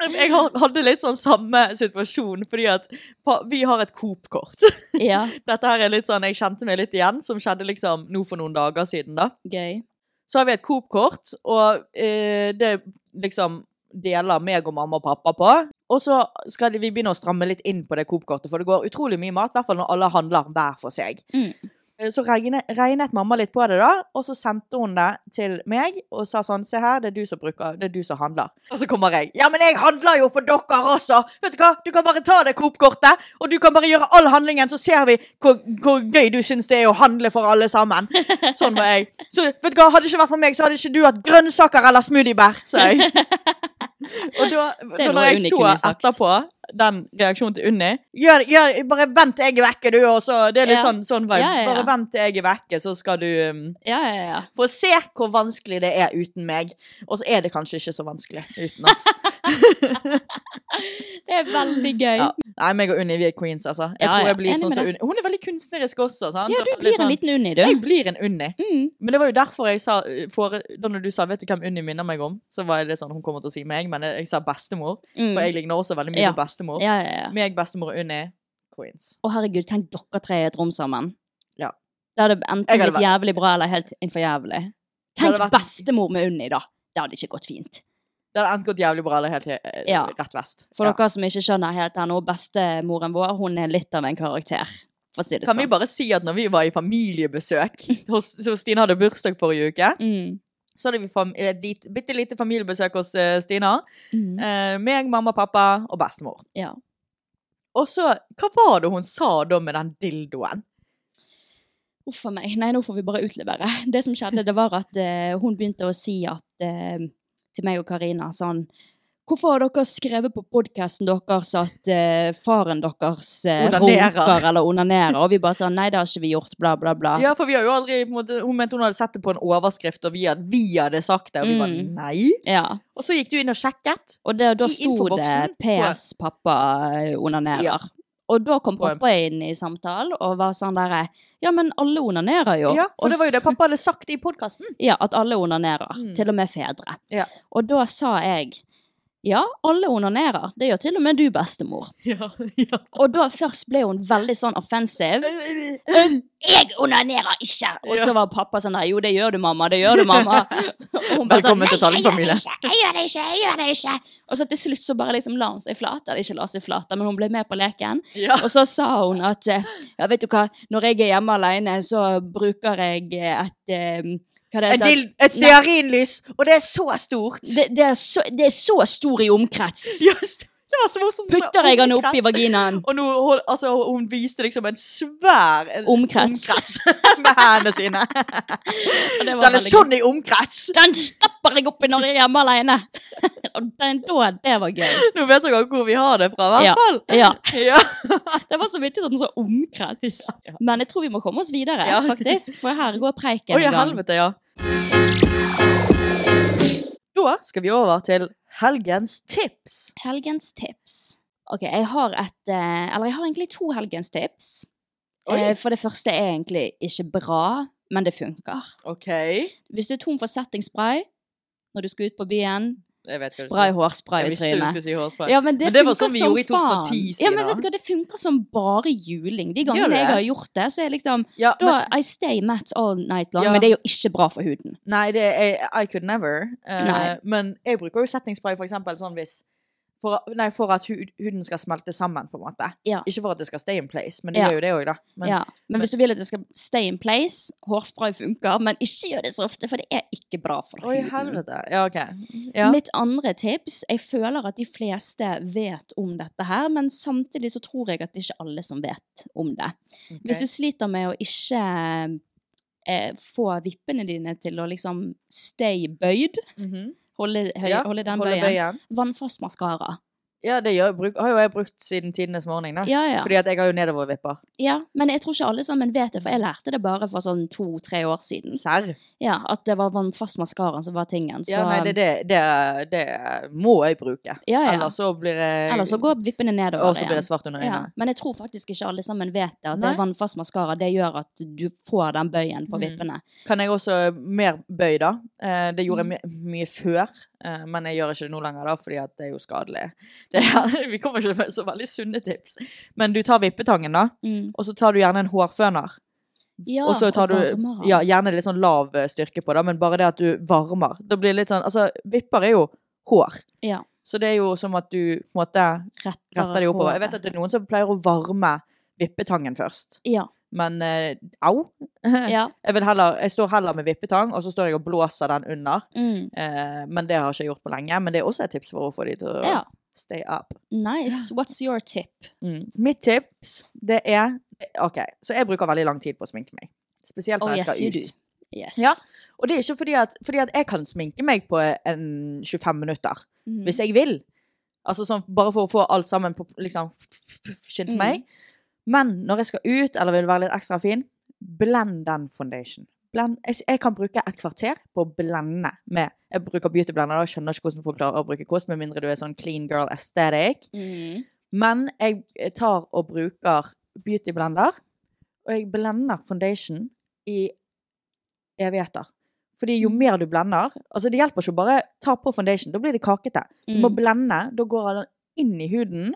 Speaker 1: Mm.
Speaker 2: Jeg har- hadde litt sånn samme situasjon, fordi at pa- vi har et Coop-kort.
Speaker 1: Ja,
Speaker 2: Dette her er litt sånn, jeg kjente meg litt igjen, som skjedde liksom nå for noen dager siden da.
Speaker 1: gøy.
Speaker 2: Så har vi et Coop-kort, og eh, det liksom deler meg og mamma og pappa på. Og så skal de- vi begynne å stramme litt inn på det Coop-kortet, for det går utrolig mye mat, i hvert fall når alle handler hver for seg.
Speaker 1: Mm.
Speaker 2: Eh, Så regne, regnet mamma litt på det, da, og så sendte hun det til meg og sa sånn Se her, det er du som bruker, det er du som handler. Og så kommer jeg. Ja, men jeg handler jo for dere også! Vet du hva, du kan bare ta det Coop-kortet, og du kan bare gjøre all handlingen, så ser vi hvor, hvor gøy du syns det er å handle for alle sammen. Sånn var jeg. Så vet du hva, hadde det ikke vært for meg, så hadde ikke du hatt grønnsaker eller smoothiebær, sa jeg. Og da, da
Speaker 1: er
Speaker 2: når
Speaker 1: noe Unni
Speaker 2: jeg så
Speaker 1: kunne sagt.
Speaker 2: etterpå den reaksjonen til Unni gjør, gjør, Bare vent til jeg er vekke, du, og så Det er litt
Speaker 1: Ja.
Speaker 2: sånn, sånn vibe.
Speaker 1: Ja, ja, ja.
Speaker 2: Bare vent til jeg er vekke, så skal du um,
Speaker 1: Ja, ja, ja.
Speaker 2: få se hvor vanskelig det er uten meg. Og så er det kanskje ikke så vanskelig uten oss.
Speaker 1: Det er veldig gøy.
Speaker 2: Ja. Nei, meg og Unni, vi er queens, altså. Jeg
Speaker 1: Ja,
Speaker 2: tror
Speaker 1: ja.
Speaker 2: jeg blir
Speaker 1: Enig
Speaker 2: sånn
Speaker 1: med
Speaker 2: som
Speaker 1: deg.
Speaker 2: Unni. Hun er veldig kunstnerisk også, sant?
Speaker 1: Ja,
Speaker 2: Og
Speaker 1: du
Speaker 2: litt
Speaker 1: blir
Speaker 2: sånn-
Speaker 1: en liten Unni, du.
Speaker 2: Jeg blir en Unni.
Speaker 1: Mm.
Speaker 2: Men det var jo derfor jeg sa uh, for, Da når du sa 'vet du hvem Unni minner meg om', så var jeg litt sånn Hun kommer til å si meg, men jeg, jeg sa bestemor.
Speaker 1: Mm.
Speaker 2: For jeg ligner også veldig mye
Speaker 1: Ja.
Speaker 2: på bestemor.
Speaker 1: Ja, ja, ja.
Speaker 2: Meg, bestemor og Unni, queens.
Speaker 1: Å, herregud, tenk dere tre i et rom sammen.
Speaker 2: Ja.
Speaker 1: Det hadde enten
Speaker 2: Jeg hadde
Speaker 1: blitt jævlig bra eller helt innenfor jævlig. Tenk
Speaker 2: hadde vært-
Speaker 1: bestemor med Unni, da. Det hadde ikke gått fint.
Speaker 2: Det hadde enten gått jævlig bra eller helt eh,
Speaker 1: Ja.
Speaker 2: rett vest.
Speaker 1: For
Speaker 2: Ja.
Speaker 1: dere som ikke skjønner helt her nå, bestemoren vår, hun er litt av en karakter. For å si det
Speaker 2: Kan vi
Speaker 1: sånn.
Speaker 2: bare si at når vi var i familiebesøk hos, Så Stina hadde bursdag forrige uke.
Speaker 1: Mm.
Speaker 2: Så hadde vi fam- et lit- bitte lite familiebesøk hos eh, Stina.
Speaker 1: Mm.
Speaker 2: Eh, meg, mamma, pappa og bestemor.
Speaker 1: Ja.
Speaker 2: Og så Hva var det hun sa da med den dildoen?
Speaker 1: Uff a meg. Nei, nå får vi bare utlevere. Det som skjedde, det var at eh, hun begynte å si at eh, til meg og Karina sånn Hvorfor har dere skrevet på podkasten deres at eh, faren deres eh,
Speaker 2: Onanerer.
Speaker 1: runker eller onanerer? Og vi bare sånn Nei, det har ikke vi gjort, bla, bla, bla.
Speaker 2: Ja, for vi har jo aldri på en måte, Hun mente hun hadde sett det på en overskrift, og vi hadde, vi hadde sagt det. Og vi bare
Speaker 1: Mm.
Speaker 2: nei.
Speaker 1: Ja.
Speaker 2: Og så gikk du inn og sjekket.
Speaker 1: Og det, da
Speaker 2: I
Speaker 1: sto
Speaker 2: infoboksen
Speaker 1: det PS pappa eh, onanerer.
Speaker 2: Ja.
Speaker 1: Og da kom
Speaker 2: På en-
Speaker 1: pappa inn i samtalen og var sånn derre Ja, men alle onanerer jo.
Speaker 2: Ja,
Speaker 1: Og
Speaker 2: For det var jo det
Speaker 1: s-
Speaker 2: pappa hadde sagt i podkasten.
Speaker 1: Ja, at alle onanerer.
Speaker 2: Mm.
Speaker 1: Til og med fedre.
Speaker 2: Ja.
Speaker 1: Og da sa jeg ja, alle onanerer. Det gjør til og med du, bestemor.
Speaker 2: Ja, ja.
Speaker 1: Og da først ble hun veldig sånn offensiv. Jeg onanerer ikke! Og så
Speaker 2: Ja.
Speaker 1: var pappa sånn der, jo, det gjør du, mamma. Det gjør du, mamma. Og hun bare sånn,
Speaker 2: Velkommen til
Speaker 1: «Nei,
Speaker 2: Tallinn-familie.»
Speaker 1: Jeg gjør det ikke! Jeg gjør det ikke! jeg gjør det ikke. Og så til slutt så bare liksom la hun seg flat. Eller ikke la seg flat, da, men hun ble med på leken.
Speaker 2: ja.
Speaker 1: Og så sa hun at eh, ja, vet du hva, når jeg er hjemme alene, så bruker jeg eh, et eh, hva det
Speaker 2: En
Speaker 1: heter?
Speaker 2: dild- et stearinlys, og det er så stort.
Speaker 1: Det, det, er så, det er så stor i omkrets.
Speaker 2: Just. Det var så morsomt.
Speaker 1: Putter jeg han opp i vaginaen?
Speaker 2: Og nå, hold- altså, hun viste liksom en svær en
Speaker 1: Omkrets.
Speaker 2: med hendene sine.
Speaker 1: Og det var
Speaker 2: Den er
Speaker 1: veldig
Speaker 2: sånn i omkrets!
Speaker 1: gøy. Den stapper jeg oppi når jeg er hjemme alene! Og den da, det var gøy.
Speaker 2: Nå vet dere hvor vi har det fra, i
Speaker 1: Ja.
Speaker 2: hvert fall.
Speaker 1: Ja.
Speaker 2: Ja.
Speaker 1: Det var så vittig at den sa omkrets.
Speaker 2: Ja.
Speaker 1: Men jeg tror vi må komme oss videre,
Speaker 2: Ja.
Speaker 1: faktisk. For her går preiken
Speaker 2: Oi,
Speaker 1: i gang.
Speaker 2: helvete, ja. Da skal vi over til helgens tips.
Speaker 1: Helgens tips. Ok, jeg har et eh, Eller jeg har egentlig to helgens tips.
Speaker 2: Oi.
Speaker 1: Eh, For det første er egentlig ikke bra, men det funker.
Speaker 2: OK.
Speaker 1: Hvis du er tom for settingspray når du skal ut på byen,
Speaker 2: Jeg vet
Speaker 1: spray hårspray
Speaker 2: Jeg
Speaker 1: i
Speaker 2: visste du
Speaker 1: trynet.
Speaker 2: skulle si hårspray.
Speaker 1: Ja, men det,
Speaker 2: Men det var
Speaker 1: funker
Speaker 2: sånn vi
Speaker 1: som
Speaker 2: gjorde i 2010,
Speaker 1: faen. Ja, men
Speaker 2: Stina.
Speaker 1: vet du hva, det funker som bare juling. De
Speaker 2: Gjør
Speaker 1: gangene
Speaker 2: det?
Speaker 1: jeg har gjort det, så er jeg liksom
Speaker 2: Ja,
Speaker 1: da,
Speaker 2: men,
Speaker 1: I stay matte all night long,
Speaker 2: Ja.
Speaker 1: men det er jo ikke bra for huden.
Speaker 2: nei, det er I could never. Eh,
Speaker 1: Nei.
Speaker 2: Men jeg bruker jo settingspray for eksempel sånn hvis for, Nei, for at hud, huden skal smelte sammen, på en måte.
Speaker 1: Ja.
Speaker 2: Ikke for at det skal stay in place, men det
Speaker 1: Ja.
Speaker 2: gjør jo det òg, da. Men,
Speaker 1: ja. men hvis du vil at det skal stay in place, hårspray funker, men ikke gjør det så ofte, for det er ikke bra for
Speaker 2: Oi,
Speaker 1: huden.
Speaker 2: helvete. Ja, OK. Ja.
Speaker 1: Mitt andre tips Jeg føler at de fleste vet om dette her, men samtidig så tror jeg at det ikke er alle som vet om det.
Speaker 2: Ok.
Speaker 1: Hvis du sliter med å ikke eh, få vippene dine til å liksom stay bøyd,
Speaker 2: Mhm.
Speaker 1: holde, høy,
Speaker 2: Ja,
Speaker 1: holde den
Speaker 2: holder
Speaker 1: bøyen,
Speaker 2: bøyen.
Speaker 1: vannfast maskara.
Speaker 2: Ja, det gjør, bruk, har jo jeg brukt siden tidenes morgen, da.
Speaker 1: Ja, ja.
Speaker 2: Fordi at jeg har jo nedovervipper.
Speaker 1: ja, men jeg tror ikke alle sammen vet det, for jeg lærte det bare for sånn to-tre år siden.
Speaker 2: Serr?
Speaker 1: Ja, At det var vannfast maskara som var tingen. Så,
Speaker 2: Ja, nei, det, det, det, det må jeg bruke.
Speaker 1: Ja, ja.
Speaker 2: Ellers så blir jeg
Speaker 1: Eller så går vippene nedover
Speaker 2: Og så blir det svart under
Speaker 1: Ja,
Speaker 2: øynene.
Speaker 1: men jeg tror faktisk ikke alle sammen vet det. At det
Speaker 2: Nei.
Speaker 1: er vannfast maskara det gjør at du får den bøyen på
Speaker 2: Mm.
Speaker 1: vippene.
Speaker 2: Kan jeg også mer bøy, da? Eh, det gjorde jeg my mye før, eh, men jeg gjør ikke det nå lenger, da, fordi at det er jo skadelig. Det er, vi kommer ikke med så veldig sunne tips. Men du tar vippetangen, da,
Speaker 1: Mm.
Speaker 2: og så tar du gjerne en hårføner.
Speaker 1: Ja,
Speaker 2: og så tar du
Speaker 1: varmer den.
Speaker 2: ja, gjerne litt sånn lav eh, styrke på, da, men bare det at du varmer. Da blir det litt sånn Altså, vipper er jo hår.
Speaker 1: Ja,
Speaker 2: Så det er jo som at du på en måte
Speaker 1: retter,
Speaker 2: retter de oppover. Jeg vet
Speaker 1: håret.
Speaker 2: at det er noen som pleier å varme vippetangen først,
Speaker 1: Ja.
Speaker 2: men eh, au.
Speaker 1: ja.
Speaker 2: Jeg, vil heller, jeg står heller med vippetang, og så står jeg og blåser den under.
Speaker 1: Mm.
Speaker 2: Eh, men det har ikke jeg gjort på lenge. Men det er også et tips for å få de til å
Speaker 1: ja.
Speaker 2: stay up.
Speaker 1: Nice. What's your tip?
Speaker 2: Mm. Mitt tips, det er OK, så jeg bruker veldig lang tid på å sminke meg. Spesielt
Speaker 1: Oh,
Speaker 2: når jeg
Speaker 1: yes,
Speaker 2: skal
Speaker 1: you do.
Speaker 2: ut.
Speaker 1: Yes.
Speaker 2: Ja, Og det er ikke fordi at, fordi at jeg kan sminke meg på en 25 minutter.
Speaker 1: Mm.
Speaker 2: hvis jeg vil. Altså sånn, bare for å få alt sammen på liksom, skyndt
Speaker 1: Mm.
Speaker 2: meg. Men når jeg skal ut, eller vil være litt ekstra fin, blend den foundation. Blend, jeg, s- jeg kan bruke et kvarter på å blende med Jeg bruker beauty blender, da jeg skjønner ikke hvordan folk klarer å bruke kost, med mindre du er sånn clean girl aesthetic.
Speaker 1: Mm.
Speaker 2: Men jeg eh, tar og bruker beauty blender, og jeg blender foundation i evigheter. Fordi jo
Speaker 1: Mm.
Speaker 2: mer du blender Altså, det hjelper ikke å bare ta på foundation, da blir det kakete. Du må
Speaker 1: Mm.
Speaker 2: blende. Da går den inn i huden.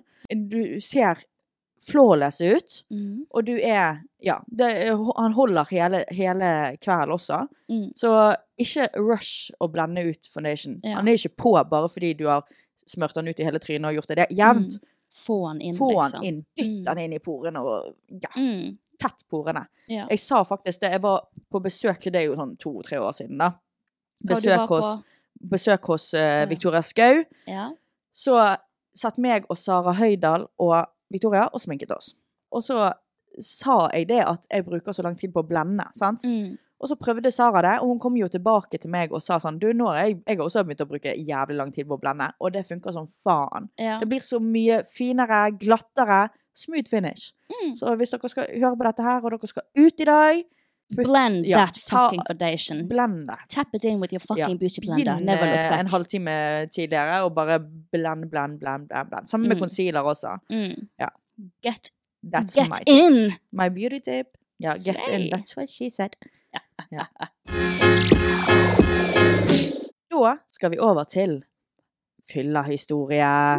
Speaker 2: Du ser flawless ut,
Speaker 1: Mm.
Speaker 2: og du er Ja. Det, han holder hele, hele kvelden også.
Speaker 1: Mm.
Speaker 2: Så ikke rush å blende ut foundation.
Speaker 1: Ja.
Speaker 2: Han er ikke på bare fordi du har smurt den ut i hele trynet og gjort det. Det er jevnt.
Speaker 1: Mm. Få han inn,
Speaker 2: Få
Speaker 1: liksom.
Speaker 2: den inn. Dytt
Speaker 1: Mm.
Speaker 2: den inn i porene og ja,
Speaker 1: Mm.
Speaker 2: tett porene.
Speaker 1: Ja.
Speaker 2: Jeg sa faktisk det. Jeg var på besøk Det er jo sånn to-tre år siden, da.
Speaker 1: Hva du var
Speaker 2: Besøk hos,
Speaker 1: på-
Speaker 2: besøk hos eh, Victoria Skau.
Speaker 1: Ja.
Speaker 2: Så satt meg og Sara Høydal og Victoria og sminket oss. Og så sa jeg det at jeg bruker så lang tid på å blende, sant?
Speaker 1: Mm.
Speaker 2: Og så prøvde Sara det, og hun kom jo tilbake til meg og sa sånn Du, nå har jeg, jeg har også begynt å bruke jævlig lang tid på å blende, og det funker som faen.
Speaker 1: Ja.
Speaker 2: Det blir så mye finere, glattere, smooth finish.
Speaker 1: Mm.
Speaker 2: Så hvis dere skal høre på dette her, og dere skal ut i dag,
Speaker 1: Blend
Speaker 2: Ja,
Speaker 1: that
Speaker 2: ta-
Speaker 1: fucking foundation.
Speaker 2: blend det.
Speaker 1: Tap it in with your Mm. fucking
Speaker 2: Ja.
Speaker 1: beauty blender.
Speaker 2: Begynn
Speaker 1: Never look
Speaker 2: eh,
Speaker 1: back.
Speaker 2: en halvtime tidligere og bare blend, blend, blend. blend, blend. Sammen med
Speaker 1: Mm.
Speaker 2: concealer også.
Speaker 1: Mm.
Speaker 2: Ja.
Speaker 1: Get,
Speaker 2: That's
Speaker 1: get
Speaker 2: my tip.
Speaker 1: in!
Speaker 2: My beauty tip. Ja, get
Speaker 1: Slay.
Speaker 2: in. That's what she said. Ja. Da skal vi over til fyllehistorie.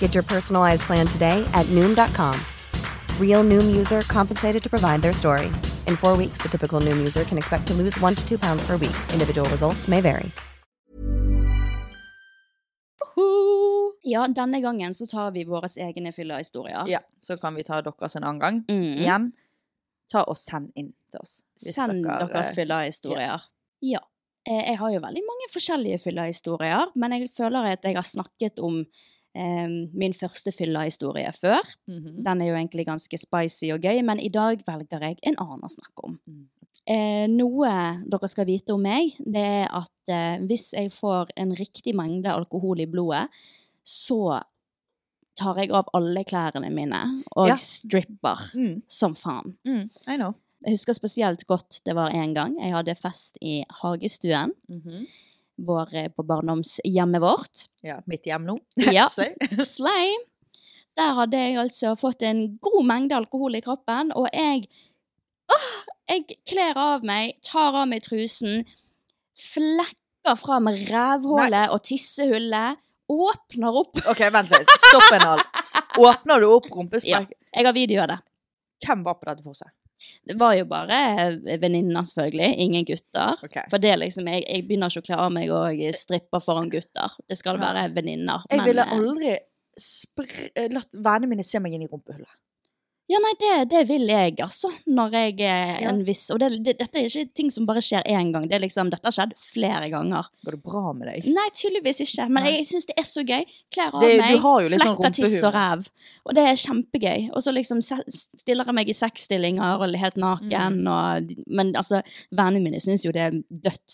Speaker 3: Get your personalized plan today at Noom.com. Real Noom user compensated to provide their story. In four weeks, the typical Noom user can expect to lose one to two pounds per week. Individual results may vary.
Speaker 1: Ja, denne gangen så tar vi våre egne fyllehistorier.
Speaker 2: Ja, så kan vi ta deres en annen gang.
Speaker 1: Mm.
Speaker 2: Igjen, ta og send inn til oss. hvis
Speaker 1: Send
Speaker 2: dere,
Speaker 1: deres
Speaker 2: eh,
Speaker 1: fyllehistorier. Ja. Eh, Jeg har jo veldig mange forskjellige fyllehistorier, men jeg føler at jeg har snakket om eh, min første fyllehistorie før.
Speaker 2: mhm.
Speaker 1: Den er jo egentlig ganske spicy og gøy, men i dag velger jeg en annen å snakke om.
Speaker 2: Mm.
Speaker 1: Eh, noe dere skal vite om meg, det er at eh, hvis jeg får en riktig mengde alkohol i blodet, så tar jeg av alle klærne mine og
Speaker 2: Ja.
Speaker 1: stripper
Speaker 2: Mm,
Speaker 1: som faen.
Speaker 2: mm, I know.
Speaker 1: Jeg husker spesielt godt det var en gang jeg hadde fest i hagestuen
Speaker 2: Mhm.
Speaker 1: vår eh, på barndomshjemmet vårt.
Speaker 2: Ja, mitt hjem nå.
Speaker 1: Ja.
Speaker 2: Se.
Speaker 1: Slay. Der hadde jeg altså fått en god mengde alkohol i kroppen, og jeg Åh! Jeg kler av meg, tar av meg trusen, flekker fra meg rævhullet og tissehullet, åpner opp
Speaker 2: OK, vent litt. Stopp en hal. Åpner du opp rumpesprekken?
Speaker 1: Jeg har video av det.
Speaker 2: Hvem var på dette forset?
Speaker 1: Det var jo bare eh, venninner, selvfølgelig. Ingen gutter.
Speaker 2: Ok.
Speaker 1: For det er liksom, jeg, jeg begynner ikke å kle av meg og strippe foran gutter. Det skal være venninner.
Speaker 2: Jeg
Speaker 1: men,
Speaker 2: ville
Speaker 1: eh,
Speaker 2: aldri spr eh, latt vennene mine se meg inn i rumpehullet.
Speaker 1: Ja, nei, det, det vil jeg, altså. Når jeg er
Speaker 2: Ja.
Speaker 1: en viss Og det, det, dette er ikke ting som bare skjer én gang. Det er liksom, dette har skjedd flere ganger.
Speaker 2: Går det bra med deg?
Speaker 1: Nei, tydeligvis ikke. Men
Speaker 2: Nei.
Speaker 1: jeg, jeg syns det er så gøy. Klær av
Speaker 2: Det- du
Speaker 1: meg,
Speaker 2: har jo litt sånn
Speaker 1: flekker tiss
Speaker 2: rumpehumor.
Speaker 1: og ræv. Og det er kjempegøy. Og så liksom se- stiller jeg meg i sexstillinger og er helt naken. Og, men altså, vennene mine syns jo det er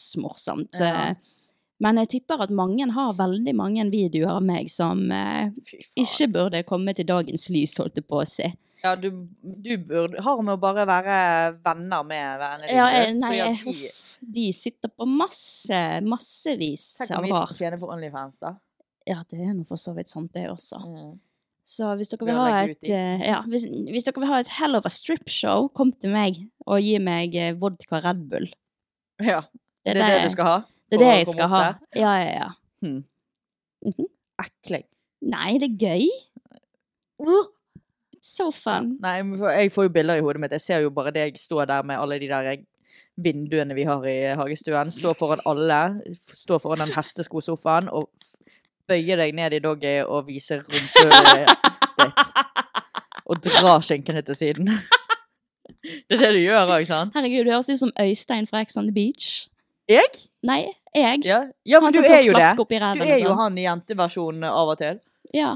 Speaker 1: dødsmorsomt.
Speaker 2: Ja.
Speaker 1: Men jeg tipper at mange har veldig mange videoer av meg som eh,
Speaker 2: Fy faen.
Speaker 1: ikke burde komme til dagens lys, holdt jeg på å si.
Speaker 2: Ja, du, du burde, har med å bare være venner med vennene dine.
Speaker 1: Ja, jeg, nei,
Speaker 2: fordi at
Speaker 1: jeg, uff, de sitter på masse, massevis
Speaker 2: de, tenk
Speaker 1: av
Speaker 2: om vi
Speaker 1: rart.
Speaker 2: tjener på Onlyfans, da.
Speaker 1: Ja, det er nå for så vidt sant, det også.
Speaker 2: Mm.
Speaker 1: Så hvis dere
Speaker 2: Vi
Speaker 1: vil
Speaker 2: har
Speaker 1: ha
Speaker 2: legget
Speaker 1: et
Speaker 2: ut i.
Speaker 1: eh, ja, hvis, hvis dere vil ha et hell of a strip-show, kom til meg og gi meg eh, vodka Red Bull.
Speaker 2: Ja, det er det, du skal ha?
Speaker 1: det, er
Speaker 2: for
Speaker 1: det
Speaker 2: å
Speaker 1: jeg
Speaker 2: komme
Speaker 1: skal
Speaker 2: opp
Speaker 1: ha.
Speaker 2: der?
Speaker 1: Ja, ja, ja.
Speaker 2: Hmm.
Speaker 1: Mhm.
Speaker 2: Ekling.
Speaker 1: Nei, det er gøy. It's so fun.
Speaker 2: Nei, men for- jeg får jo bilder i hodet mitt. Jeg ser jo bare deg stå der med alle de der eh, vinduene vi har i hagestuen. Stå foran alle. Stå foran den hesteskosofaen og bøye deg ned i doggy og vise rumpehullet ditt. Og dra skinkene til siden. Det er det du gjør òg, sant?
Speaker 1: Herregud, du høres ut som Øystein fra Ex on the Beach.
Speaker 2: Jeg?
Speaker 1: Nei, jeg.
Speaker 2: Ja, ja men
Speaker 1: han
Speaker 2: du
Speaker 1: som
Speaker 2: er
Speaker 1: tok
Speaker 2: jo det.
Speaker 1: flaske opp i
Speaker 2: Du
Speaker 1: ræven.
Speaker 2: er
Speaker 1: og sånn.
Speaker 2: jo
Speaker 1: sånt.
Speaker 2: han i jenteversjonen av og til.
Speaker 1: Ja,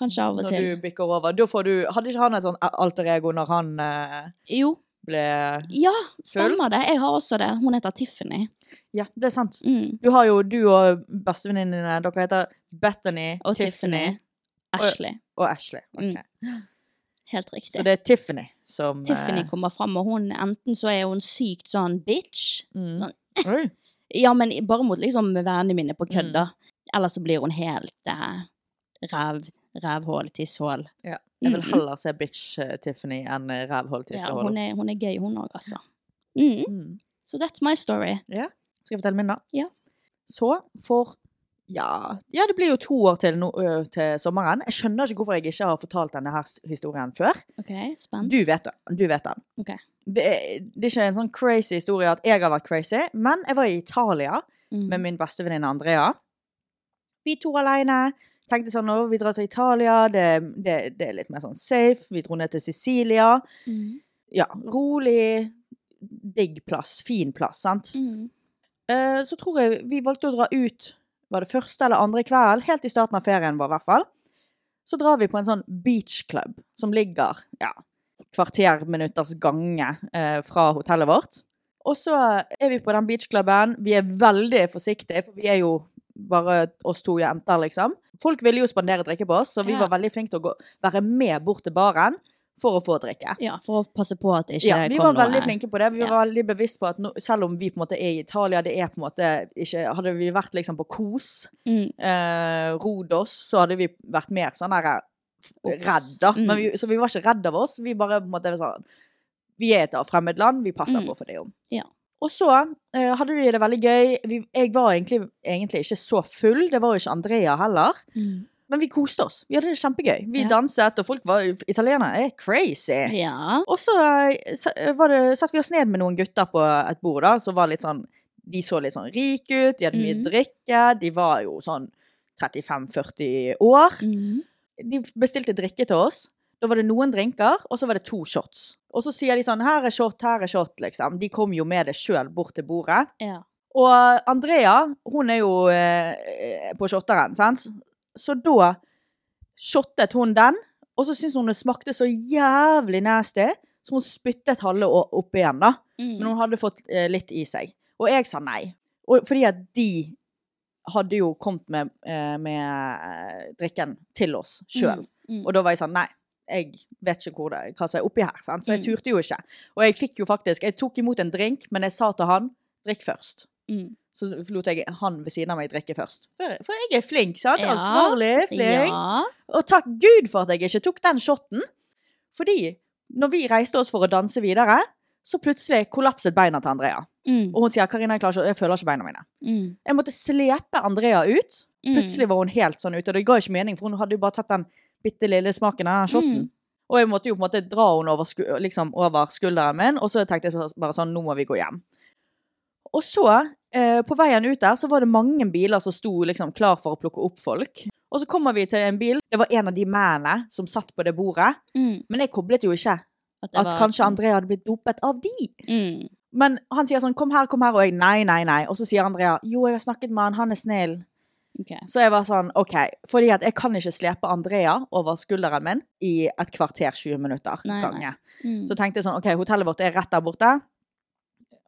Speaker 1: kanskje av og
Speaker 2: Når
Speaker 1: til.
Speaker 2: du bikker over. Da får du Hadde ikke han et sånn alter ego når han eh,
Speaker 1: Jo,
Speaker 2: ble
Speaker 1: Ja, stemmer det. Jeg har også det. Hun heter Tiffany.
Speaker 2: Ja, det er sant.
Speaker 1: Mm.
Speaker 2: Du har jo du og bestevenninnene dine. Dere heter Bethany,
Speaker 1: Og Tiffany.
Speaker 2: Tiffany,
Speaker 1: Ashley.
Speaker 2: og Ashley. Ok.
Speaker 1: Mm. Helt riktig.
Speaker 2: Så det er Tiffany som eh,
Speaker 1: Tiffany kommer fram, og hun enten så er hun sykt sånn bitch
Speaker 2: mm.
Speaker 1: sånn.
Speaker 2: Oi.
Speaker 1: Ja, men bare mot liksom vennene mine på
Speaker 2: Mm.
Speaker 1: kødd, da. Eller så blir hun helt eh, ræv, rævhål, tisshål.
Speaker 2: Ja. Jeg vil
Speaker 1: Mm.
Speaker 2: heller se bitch-Tiffany enn
Speaker 1: Ja,
Speaker 2: rævhold-tissehold.
Speaker 1: hun, er, hun er gøy, hun òg, altså. Mm.
Speaker 2: mm.
Speaker 1: Så that's my story.
Speaker 2: Skal jeg fortelle min, da?
Speaker 1: Ja.
Speaker 2: Så for ja. ja, det blir jo to år til, nå- ø, til sommeren. Jeg skjønner ikke hvorfor jeg ikke har fortalt denne her s- historien før.
Speaker 1: OK, spent.
Speaker 2: Du vet den. Du vet den.
Speaker 1: Ok.
Speaker 2: Det, er- det er ikke en sånn crazy historie at jeg har vært crazy, men jeg var i Italia
Speaker 1: Mm.
Speaker 2: med min beste venninne Andrea. Vi to alene. Tenkte sånn nå, vi drar til Italia, det, det, det er litt mer sånn safe. Vi dro ned til Sicilia.
Speaker 1: Mm.
Speaker 2: Ja, rolig, digg plass, fin plass, sant?
Speaker 1: Mm.
Speaker 2: Eh, så tror jeg vi valgte å dra ut Var det første eller andre kvelden? Helt i starten av ferien vår, i hvert fall. Så drar vi på en sånn beach club som ligger ja, kvarterminutters gange eh, fra hotellet vårt. Og så er vi på den beachklubben. Vi er veldig forsiktige, for vi er jo bare oss to jenter, liksom. Folk ville jo spandere drikke på oss, så vi
Speaker 1: Ja.
Speaker 2: var veldig flinke til å gå, være med bort til baren for å få drikke.
Speaker 1: Ja, for å passe på at det ikke
Speaker 2: Ja, vi
Speaker 1: kom
Speaker 2: var
Speaker 1: noe.
Speaker 2: veldig flinke på det. Vi
Speaker 1: Ja.
Speaker 2: var veldig bevisst på at nå- selv om vi på en måte er i Italia, det er på en måte ikke Hadde vi vært liksom på Kos,
Speaker 1: Mm.
Speaker 2: eh, Rodos, så hadde vi vært mer sånn der
Speaker 1: Ops.
Speaker 2: redd, da.
Speaker 1: Mm.
Speaker 2: Men vi, så vi var ikke redd av oss. Vi bare på en måte var sånn Vi er et fremmed land, vi passer
Speaker 1: Mm.
Speaker 2: på for det om.
Speaker 1: Ja.
Speaker 2: Og så eh, hadde vi det veldig gøy. Vi, jeg var egentlig, egentlig ikke så full. Det var jo ikke Andrea heller.
Speaker 1: Mm.
Speaker 2: Men vi koste oss. Vi hadde det kjempegøy. Vi
Speaker 1: Ja.
Speaker 2: danset, og folk var Italienere er crazy.
Speaker 1: Ja.
Speaker 2: Og så eh, sa- eh, var det, satt vi oss ned med noen gutter på et bord da, som var litt sånn De så litt sånn rike ut, de hadde mye
Speaker 1: Mhm.
Speaker 2: drikke, de var jo sånn 35-40 år.
Speaker 1: Mm.
Speaker 2: De bestilte drikke til oss. Da var det noen drinker, og så var det to shots. Og så sier de sånn 'Her er shot, her er shot', liksom. De kom jo med det sjøl bort til bordet.
Speaker 1: Ja.
Speaker 2: Og Andrea, hun er jo eh, på shotteren, sant? Så da shottet hun den, og så syntes hun det smakte så jævlig nasty, så hun spyttet halve å- opp igjen, da.
Speaker 1: Mm.
Speaker 2: Men hun hadde fått eh, litt i seg. Og jeg sa nei. Og, fordi at de hadde jo kommet med, eh, med eh, drikken til oss sjøl.
Speaker 1: Mm.
Speaker 2: Og da var jeg sånn, nei, jeg vet ikke hvor det, hva som er oppi her, sant? så jeg
Speaker 1: Mm.
Speaker 2: turte jo ikke. Og jeg fikk jo faktisk, jeg tok imot en drink, men jeg sa til han, drikk først.
Speaker 1: Mm.
Speaker 2: Så lot jeg han ved siden av meg drikke først. For, for jeg er flink, sant?
Speaker 1: Ja.
Speaker 2: Ansvarlig, flink.
Speaker 1: Ja.
Speaker 2: Og takk Gud for at jeg ikke tok den shotten. Fordi når vi reiste oss for å danse videre, så plutselig kollapset beina til Andrea.
Speaker 1: Mm.
Speaker 2: Og hun sier, Karina, jeg klarer ikke, jeg føler ikke beina mine.
Speaker 1: Mm.
Speaker 2: Jeg måtte slepe Andrea ut.
Speaker 1: Mm.
Speaker 2: Plutselig var hun helt sånn ute, og det ga ikke mening, for hun hadde jo bare tatt den bitte lille smaken av den shotten.
Speaker 1: Mm.
Speaker 2: Og jeg måtte jo på en måte dra henne over, sku liksom over skulderen min, og så tenkte jeg bare sånn, nå må vi gå hjem. Og så, eh, på veien ut der, så var det mange biler som sto liksom klar for å plukke opp folk. Og så kommer vi til en bil, det var en av de mennene som satt på det bordet,
Speaker 1: Mm.
Speaker 2: men jeg koblet jo ikke
Speaker 1: At, det
Speaker 2: at
Speaker 1: var-
Speaker 2: kanskje Andrea hadde blitt dopet av de.
Speaker 1: mm.
Speaker 2: Men han sier sånn, kom her, kom her, og jeg, nei, nei, nei. Og så sier Andrea, jo, jeg har snakket med han, han er snill.
Speaker 1: Ok.
Speaker 2: Så jeg var sånn, ok, fordi at jeg kan ikke slepe Andrea over skulderen min i et kvarter 20 minutter
Speaker 1: Nei, nei.
Speaker 2: gange.
Speaker 1: Mm.
Speaker 2: Så tenkte jeg sånn, ok, hotellet vårt er rett der borte.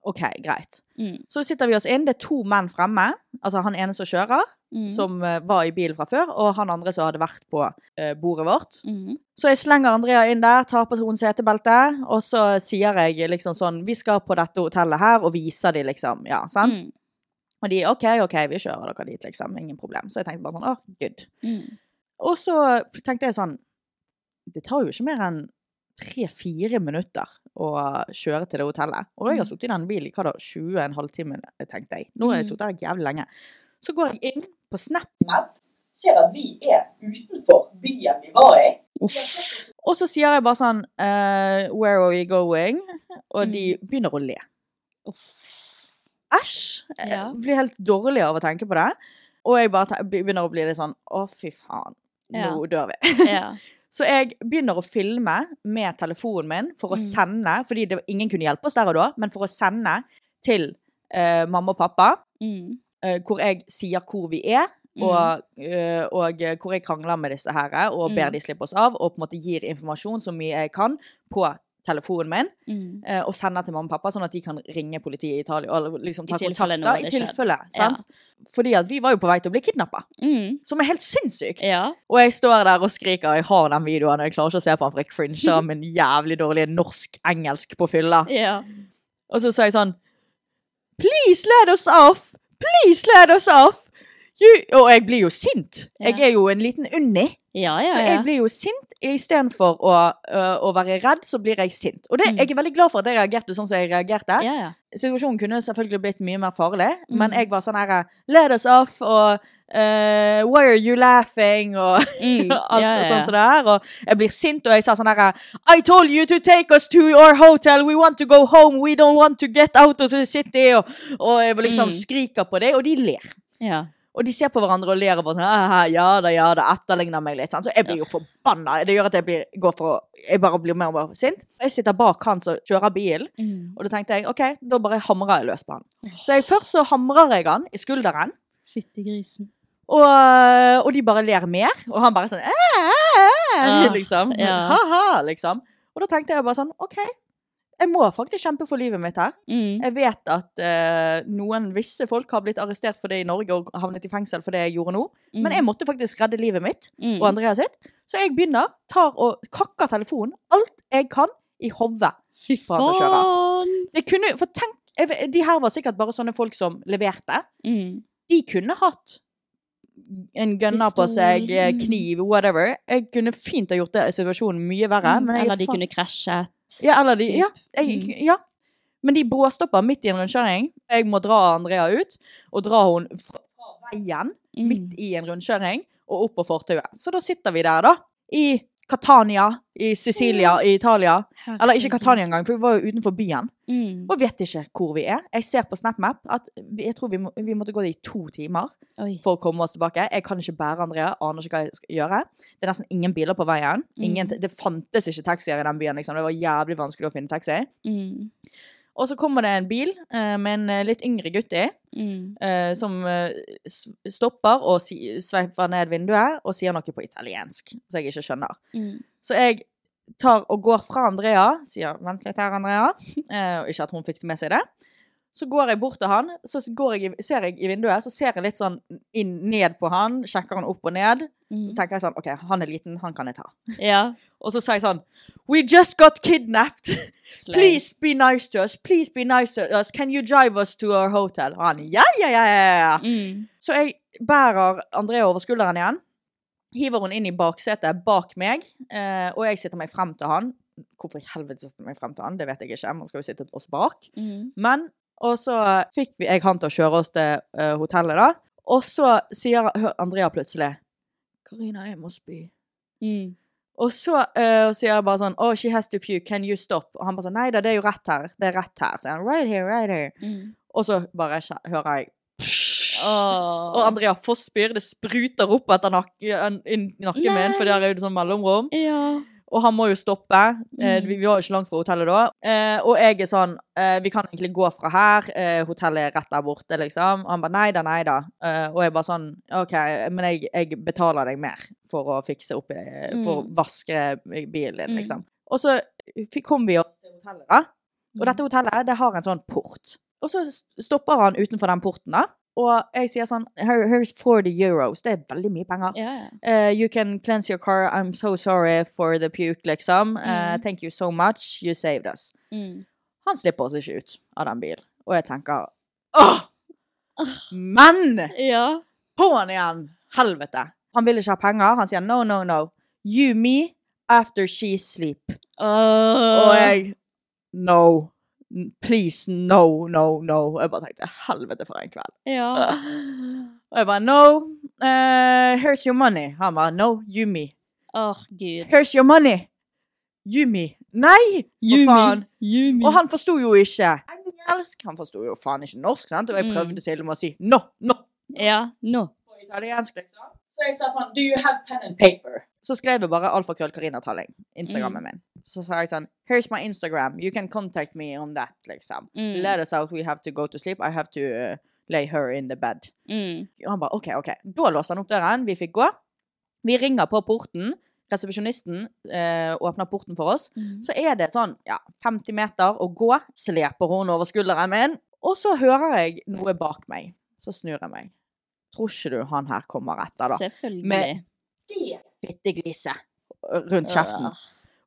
Speaker 2: Ok, greit.
Speaker 1: Mm.
Speaker 2: Så sitter vi oss inn, det er to menn fremme, altså han ene som kjører,
Speaker 1: Mm.
Speaker 2: som eh, var i bilen fra før, og han andre som hadde vært på eh, bordet vårt.
Speaker 1: mm.
Speaker 2: Så jeg slenger Andrea inn der, tar på hun setebeltet, og så sier jeg liksom sånn, vi skal på dette hotellet her, og viser de liksom, ja, sant?
Speaker 1: Mm.
Speaker 2: Og de, ok, ok, vi kjører dere dit, liksom. Ingen problem. Så jeg tenkte bare sånn, åh, good.
Speaker 1: Mm.
Speaker 2: Og så tenkte jeg sånn, det tar jo ikke mer enn tre-fire minutter å kjøre til det hotellet. Og jeg har sittet i den bilen i hva da, 20, en halvtime, tenkte jeg. Nå har jeg
Speaker 1: Mm.
Speaker 2: sittet her jævlig lenge. Så går jeg inn på SnapMap, ser at vi er utenfor byen vi var i.
Speaker 1: Uff.
Speaker 2: Og så sier jeg bare sånn, eh, where are we going? Og de begynner å le.
Speaker 1: Uff.
Speaker 2: æsj. Jeg
Speaker 1: Ja.
Speaker 2: Blir helt dårlig av å tenke på det. Og jeg bare te- begynner å bli litt sånn å, fy faen, nå
Speaker 1: Ja.
Speaker 2: dør vi.
Speaker 1: Ja.
Speaker 2: Så jeg begynner å filme med telefonen min for å
Speaker 1: Mm.
Speaker 2: sende, fordi det, ingen kunne hjelpe oss der og da, men for å sende til eh, mamma og pappa,
Speaker 1: Mm.
Speaker 2: eh, hvor jeg sier hvor vi er.
Speaker 1: Mm.
Speaker 2: Og, eh, og eh, hvor jeg krangler med disse her og ber
Speaker 1: Mm.
Speaker 2: de slippe oss av. Og på en måte gir informasjon så mye jeg kan på telefonen min
Speaker 1: Mm.
Speaker 2: eh, og sender til mamma og pappa, sånn at de kan ringe politiet i Italia og liksom ta
Speaker 1: I tilfelle
Speaker 2: kontakt.
Speaker 1: noe
Speaker 2: da,
Speaker 1: hadde
Speaker 2: I
Speaker 1: skjedd.
Speaker 2: tilfelle.
Speaker 1: Ja.
Speaker 2: Sant? Fordi at vi var jo på vei til å bli kidnappa,
Speaker 1: Mm.
Speaker 2: som er helt sinnssykt.
Speaker 1: Ja.
Speaker 2: Og jeg står der og skriker, jeg har den videoen, og jeg klarer ikke å se på den, for jeg cringer av min jævlig dårlige norsk-engelsk på fylla.
Speaker 1: Ja.
Speaker 2: Og så sa jeg sånn Please let us off! Please let us off! You, og jeg blir jo sint.
Speaker 1: Ja.
Speaker 2: Jeg er jo en liten unni.
Speaker 1: Ja, ja,
Speaker 2: Så
Speaker 1: ja.
Speaker 2: jeg blir jo sint. Istedenfor å, øh, å være redd, så blir jeg sint. Og det,
Speaker 1: Mm.
Speaker 2: jeg er veldig glad for at jeg reagerte sånn som jeg reagerte.
Speaker 1: ja, ja.
Speaker 2: Situasjonen kunne selvfølgelig blitt mye mer farlig, men
Speaker 1: Mm.
Speaker 2: jeg var sånn her Let us off, og eh, Why are you laughing? og
Speaker 1: Mm.
Speaker 2: alt
Speaker 1: ja, ja,
Speaker 2: sånn
Speaker 1: ja.
Speaker 2: som det er. Og jeg blir sint, og jeg sa sånn her I told you to take us to your hotel. We want to go home. We don't want to get out of the city. Og, og jeg liksom
Speaker 1: Mm.
Speaker 2: skriker på det, og de ler.
Speaker 1: Ja.
Speaker 2: Og de ser på hverandre og ler og bare sånn «Ah, Ja da, ja da, etterligner meg litt. Sant? Så jeg blir jo forbanna. Det gjør at jeg blir, går for å Jeg bare blir mer og mer sint. Jeg sitter bak han som kjører bilen,
Speaker 1: Mm.
Speaker 2: og da tenkte jeg OK, da bare hamrer jeg løs på han. Så jeg, først så hamrer jeg han i skulderen.
Speaker 1: Fittegrisen.
Speaker 2: Og, øh, og de bare ler mer, og han bare sånn «Æ, æ, æ»,
Speaker 1: Ja,
Speaker 2: liksom.
Speaker 1: Ah, ja.
Speaker 2: Ha-ha, liksom. Og da tenkte jeg bare sånn OK, jeg må faktisk kjempe for livet mitt her.
Speaker 1: Mm.
Speaker 2: Jeg vet at eh, noen visse folk har blitt arrestert for det i Norge og havnet i fengsel for det jeg gjorde nå, men jeg måtte faktisk redde livet mitt
Speaker 1: mm.
Speaker 2: og Andreas sitt. Så jeg begynner, tar og kakker telefonen alt jeg kan i hodet på han som kjører.
Speaker 1: Faen!
Speaker 2: Det kunne, for tenk, jeg vet- de her var sikkert bare sånne folk som leverte
Speaker 1: Mm.
Speaker 2: de kunne hatt en gunner på
Speaker 1: Pistol,
Speaker 2: seg, eh,
Speaker 1: mm.
Speaker 2: kniv, whatever. Jeg kunne fint ha gjort det situasjonen mye verre.
Speaker 1: Mm.
Speaker 2: Men jeg,
Speaker 1: Eller de
Speaker 2: faen-
Speaker 1: kunne krasjet.
Speaker 2: ja, eller de,
Speaker 1: typ. Mm.
Speaker 2: ja, jeg, ja. Men de bråstopper midt i en rundkjøring. Jeg må dra Andrea ut, og dra hun fra fra veien
Speaker 1: Mm.
Speaker 2: midt i en rundkjøring og opp på fortauet. Så da sitter vi der, da. I Catania, i Sicilia, i Italia. Eller ikke Catania engang, for vi var jo utenfor byen.
Speaker 1: Mm.
Speaker 2: Og vet ikke hvor vi er. Jeg ser på SnapMap at vi- jeg tror vi, må, vi måtte gå det i to timer
Speaker 1: Oi.
Speaker 2: for å komme oss tilbake. Jeg kan ikke bære Andrea, aner ikke hva jeg skal gjøre. Det er nesten ingen biler på veien. Ingen,
Speaker 1: Mm.
Speaker 2: Det fantes ikke taxier i den byen, liksom. Det var jævlig vanskelig å finne taxi.
Speaker 1: Mm.
Speaker 2: Og så kommer det en bil eh, med en eh, litt yngre gutt i,
Speaker 1: Mm.
Speaker 2: eh, som eh, s- stopper og si, sveiper ned vinduet og sier noe på italiensk, som jeg ikke skjønner.
Speaker 1: Mm.
Speaker 2: Så jeg tar og går fra Andrea, sier 'vent litt her, Andrea', eh, og ikke at hun fikk med seg det. Så går jeg bort til han, så går jeg, i- ser jeg i vinduet, så ser jeg litt sånn inn, ned på han, sjekker han opp og ned.
Speaker 1: Mm.
Speaker 2: Så tenker jeg sånn 'OK, han er liten, han kan jeg ta'.
Speaker 1: Ja.
Speaker 2: Og så sier jeg sånn 'We just got kidnapped'. Please be nice to us. Please be nice to us. Can you drive us to our hotel? Og han ja, ja, ja, ja, ja.
Speaker 1: Mm.
Speaker 2: Så jeg bærer Andrea over skulderen igjen, hiver hun inn i baksetet bak meg, eh, og jeg sitter meg frem til han. Hvorfor i helvete sitter jeg meg frem til han? Det vet jeg ikke. Man skal jo sitte oss bak.
Speaker 1: Mm.
Speaker 2: Men, og så fikk vi, jeg han til å kjøre oss til eh, hotellet da, og så sier hør, Andrea plutselig, Karina, jeg må spy.
Speaker 1: Mm.
Speaker 2: Og så eh, sier jeg bare sånn, oh, she has to puke, can you stop? Og han bare sånn, nei da, det er jo rett her, det er rett her. Så han, right here, right here.
Speaker 1: Mm.
Speaker 2: Og så bare kje- hører jeg,
Speaker 1: Åh.
Speaker 2: Og Andrea Foss spyr. Det spruter opp etter nak inn i nakken
Speaker 1: Nei.
Speaker 2: min, for der er jo det sånn mellomrom.
Speaker 1: Ja.
Speaker 2: Og han må jo stoppe. Eh,
Speaker 1: Mm.
Speaker 2: vi, vi var jo ikke langt fra hotellet da. Eh, og jeg er sånn eh, Vi kan egentlig gå fra her. Eh, hotellet er rett der borte, liksom. Og han bare nei da, nei da. Eh, og jeg bare sånn OK, men jeg, jeg betaler deg mer for å fikse opp i det, for å
Speaker 1: Mm.
Speaker 2: vaske bilen din,
Speaker 1: Mm.
Speaker 2: liksom. Og så fikk- kom vi oss til hotellet, da.
Speaker 1: Mm.
Speaker 2: Og dette hotellet det har en sånn port. Og så s- stopper han utenfor den porten, da. Og jeg sier sånn Here, Here's 40 euros. Det er veldig mye penger.
Speaker 1: Ja, ja.
Speaker 2: Eh, you can cleanse your car. I'm so sorry for the puke, liksom. Eh,
Speaker 1: Mm.
Speaker 2: thank you so much. You saved us.
Speaker 1: Mm.
Speaker 2: Han slipper oss ikke ut av den bilen. Og jeg tenker Åh! Men!
Speaker 1: Ja.
Speaker 2: På'n igjen! Helvete. Han vil ikke ha penger. Han sier no, no, no. You me after she sleep. Og jeg No. Please, no, no, no. Jeg bare tenkte helvete for en kveld.
Speaker 1: Ja.
Speaker 2: Ah. Og jeg bare no, eh, here's your money. Han bare no, you me.
Speaker 1: Åh, gud.
Speaker 2: Here's your money. Yumi. Nei, for faen.
Speaker 1: Yumi.
Speaker 2: Og han forsto jo ikke engelsk. Han forsto jo faen ikke norsk, sant? Og jeg
Speaker 1: Mm.
Speaker 2: prøvde til og med å si no, no.
Speaker 1: Ja, nå.
Speaker 2: På italiensk, liksom. Så jeg sa sånn Do you have pen and paper? Mm. Så skrev jeg bare alfakrøll Karina Talling. Instagrammen min. Så sa jeg sånn Here's my Instagram. You can contact me on that, liksom.
Speaker 1: Mm.
Speaker 2: Let us out. We have to go to sleep. I have to uh, lay her in the bed.
Speaker 1: Mm.
Speaker 2: Og han bare OK, OK. Da låste han opp døren. Vi fikk gå. Vi ringer på porten. Resepsjonisten eh, åpner porten for oss. Så er det sånn ja, 50 meter å gå. Sleper hun over skulderen min. Og så hører jeg noe bak meg. Så snur jeg meg. Tror ikke du han her kommer etter, da?
Speaker 1: Selvfølgelig.
Speaker 2: Med- Bitte glise rundt kjeften.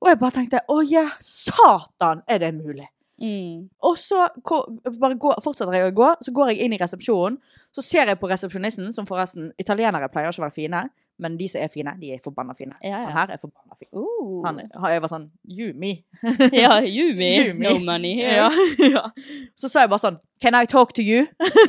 Speaker 2: Og jeg bare tenkte å ja, satan, er det mulig?
Speaker 1: Mm.
Speaker 2: Og så ko- bare gå, fortsetter jeg å gå, så går jeg inn i resepsjonen. Så ser jeg på resepsjonisten, som forresten Italienere pleier ikke å være fine, men de som er fine, de er forbanna fine.
Speaker 1: Ja, ja.
Speaker 2: Han her er forbanna fin.
Speaker 1: Uh.
Speaker 2: Han, han- jeg var sånn You me.
Speaker 1: ja, Yumi.
Speaker 2: Yumi.
Speaker 1: No money here.
Speaker 2: Ja, ja. Så sa jeg bare sånn Can I talk to you?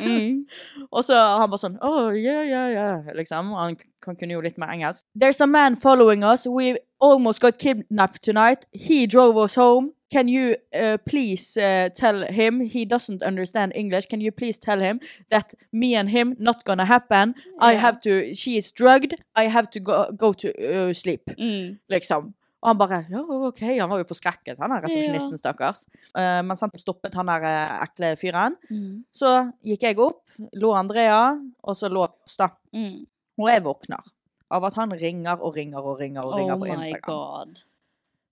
Speaker 1: Mm.
Speaker 2: Og så han bare sånn Oh, yeah, yeah, yeah. Liksom. Han k- han kunne jo litt mer engelsk. There's a man following us. We almost got kidnapped tonight. He drove us home. Can you uh, please uh, tell him he doesn't understand English? Can you please tell him that me and him not gonna happen? I
Speaker 1: Ja.
Speaker 2: have to. She is drugged. I have to go, go to uh, sleep
Speaker 1: Mm.
Speaker 2: liksom. Og han bare ja, OK, han var jo forskrekket, han der resepsjonisten, stakkars. Eh, mens han stoppet han der eh, ekle fyren.
Speaker 1: Mm.
Speaker 2: Så gikk jeg opp, lå Andrea, og så lå oss, da.
Speaker 1: Mm.
Speaker 2: Og jeg våkner av at han ringer og ringer og ringer og ringer
Speaker 1: Oh
Speaker 2: på
Speaker 1: my
Speaker 2: Instagram.
Speaker 1: god.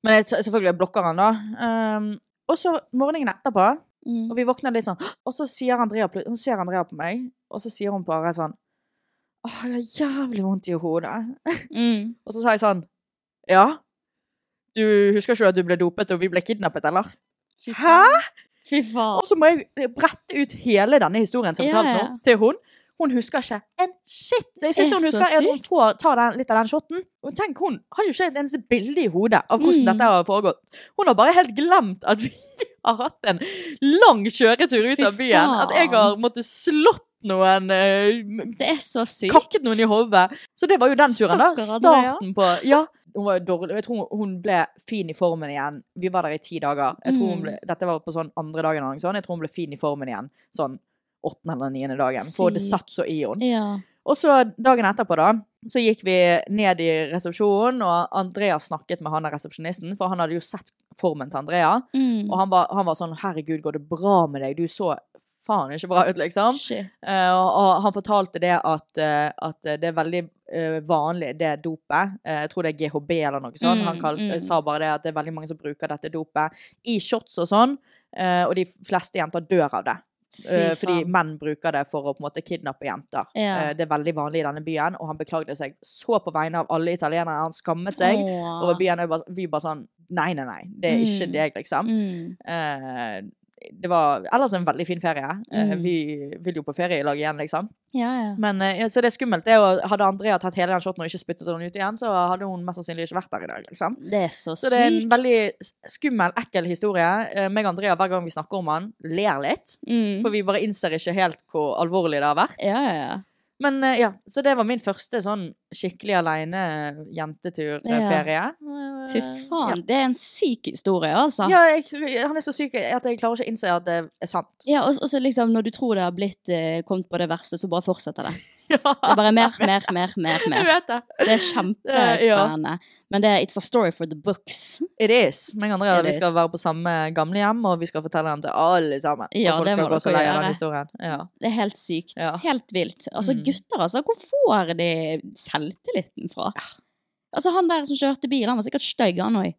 Speaker 2: Men jeg, selvfølgelig jeg blokker han, da. Ehm, og så morgenen etterpå,
Speaker 1: Mm.
Speaker 2: og vi våkner litt sånn, og så sier Andrea, plut- hun ser Andrea på meg, og så sier hun bare sånn Åh, jeg har jævlig vondt i hodet.
Speaker 1: Mm.
Speaker 2: Og så sa jeg sånn Ja, du husker ikke du at du ble dopet og vi ble kidnappet, eller? Hæ?
Speaker 1: Fy faen.
Speaker 2: Og så må jeg brette ut hele denne historien som jeg
Speaker 1: Ja,
Speaker 2: fortalte
Speaker 1: ja.
Speaker 2: nå, til hun. Hun husker ikke en shit! Jeg synes
Speaker 1: er
Speaker 2: hun
Speaker 1: så
Speaker 2: husker at hun
Speaker 1: sykt.
Speaker 2: får ta den, litt av den shotten. Og tenk, hun har jo ikke et eneste bilde i hodet av hvordan
Speaker 1: Mm.
Speaker 2: dette har foregått. Hun har bare helt glemt at vi har hatt en lang kjøretur ut
Speaker 1: Fy
Speaker 2: av byen. At jeg
Speaker 1: faen.
Speaker 2: har måttet slått noen eh,
Speaker 1: Det er så sykt.
Speaker 2: kakket noen i hodet. Så det var jo den turen, da.
Speaker 1: Stakkar Andrea.
Speaker 2: Starten på Ja. Hun var jo dårlig. Jeg tror hun ble fin i formen igjen. Vi var der i ti dager. Jeg tror hun
Speaker 1: Mm.
Speaker 2: ble, dette var på sånn andre dagen. eller noe sånt. Jeg tror hun ble fin i formen igjen sånn åttende eller niende dagen. For det satt så i henne.
Speaker 1: Ja.
Speaker 2: Og så dagen etterpå, da, så gikk vi ned i resepsjonen, og Andreas snakket med han der resepsjonisten, for han hadde jo sett formen til Andrea.
Speaker 1: Mm.
Speaker 2: Og han var, han var sånn 'Herregud, går det bra med deg? Du så faen ikke bra ut', liksom.
Speaker 1: Shit.
Speaker 2: Eh, og, og han fortalte det at, eh, at det er veldig eh, vanlig, det dopet. Eh, jeg tror det er GHB eller noe sånt.
Speaker 1: Mm,
Speaker 2: han kal-
Speaker 1: mm.
Speaker 2: sa bare det at det er veldig mange som bruker dette dopet i shots og sånn. eh, og de fleste jenter dør av det. Eh,
Speaker 1: Fy
Speaker 2: fordi
Speaker 1: faen.
Speaker 2: menn bruker det for å på en måte kidnappe jenter.
Speaker 1: Ja.
Speaker 2: Eh, det er veldig vanlig i denne byen, og han beklagde seg så på vegne av alle italienere. Han skammet seg
Speaker 1: Åh.
Speaker 2: over byen. og jeg bare- Vi bare sånn Nei, nei, nei. Det er ikke
Speaker 1: Mm.
Speaker 2: deg, liksom.
Speaker 1: Mm.
Speaker 2: Eh, det var ellers en veldig fin ferie. Eh,
Speaker 1: Mm.
Speaker 2: Vi vil jo på ferie i lag igjen, liksom.
Speaker 1: Ja, ja.
Speaker 2: Men, eh, ja, så det er skummelt. Det er jo, hadde Andrea tatt hele den shoten og ikke spyttet den ut igjen, så hadde hun mest sannsynlig ikke vært der i dag, liksom.
Speaker 1: Det er så,
Speaker 2: Så det er en
Speaker 1: sykt.
Speaker 2: veldig s- skummel, ekkel historie. Eh, Meg og Andrea, hver gang vi snakker om han, ler litt.
Speaker 1: mm.
Speaker 2: For vi bare innser ikke helt hvor alvorlig det har vært.
Speaker 1: Ja, ja, ja.
Speaker 2: Men eh, ja, så det var min første sånn skikkelig eh, aleine jentetur-ferie.
Speaker 1: Fy faen, det er en syk historie, altså.
Speaker 2: Eh, Ja, jeg, han er så syk at jeg klarer ikke å innse at det er sant.
Speaker 1: Ja, og, og så liksom, når du tror det har blitt eh, kommet på det verste, så bare fortsetter det. Det
Speaker 2: Ja,
Speaker 1: er bare mer, mer, mer, mer.
Speaker 2: jeg
Speaker 1: mer.
Speaker 2: vet det.
Speaker 1: Det er kjempespennende. Men det er It's a story for the books.
Speaker 2: It is. Men andre er
Speaker 1: It
Speaker 2: at vi skal
Speaker 1: is.
Speaker 2: være på samme gamlehjem, og vi skal fortelle den til alle sammen.
Speaker 1: Ja,
Speaker 2: og folk
Speaker 1: det
Speaker 2: skal
Speaker 1: må
Speaker 2: gå så
Speaker 1: dere
Speaker 2: lei av
Speaker 1: gjøre.
Speaker 2: den historien. Ja.
Speaker 1: Det er helt sykt.
Speaker 2: Ja.
Speaker 1: Helt vilt. Altså,
Speaker 2: Mm.
Speaker 1: gutter, altså. Hvor får de selvtilliten fra? Altså, Han der som kjørte bil, han var sikkert stygg, han òg.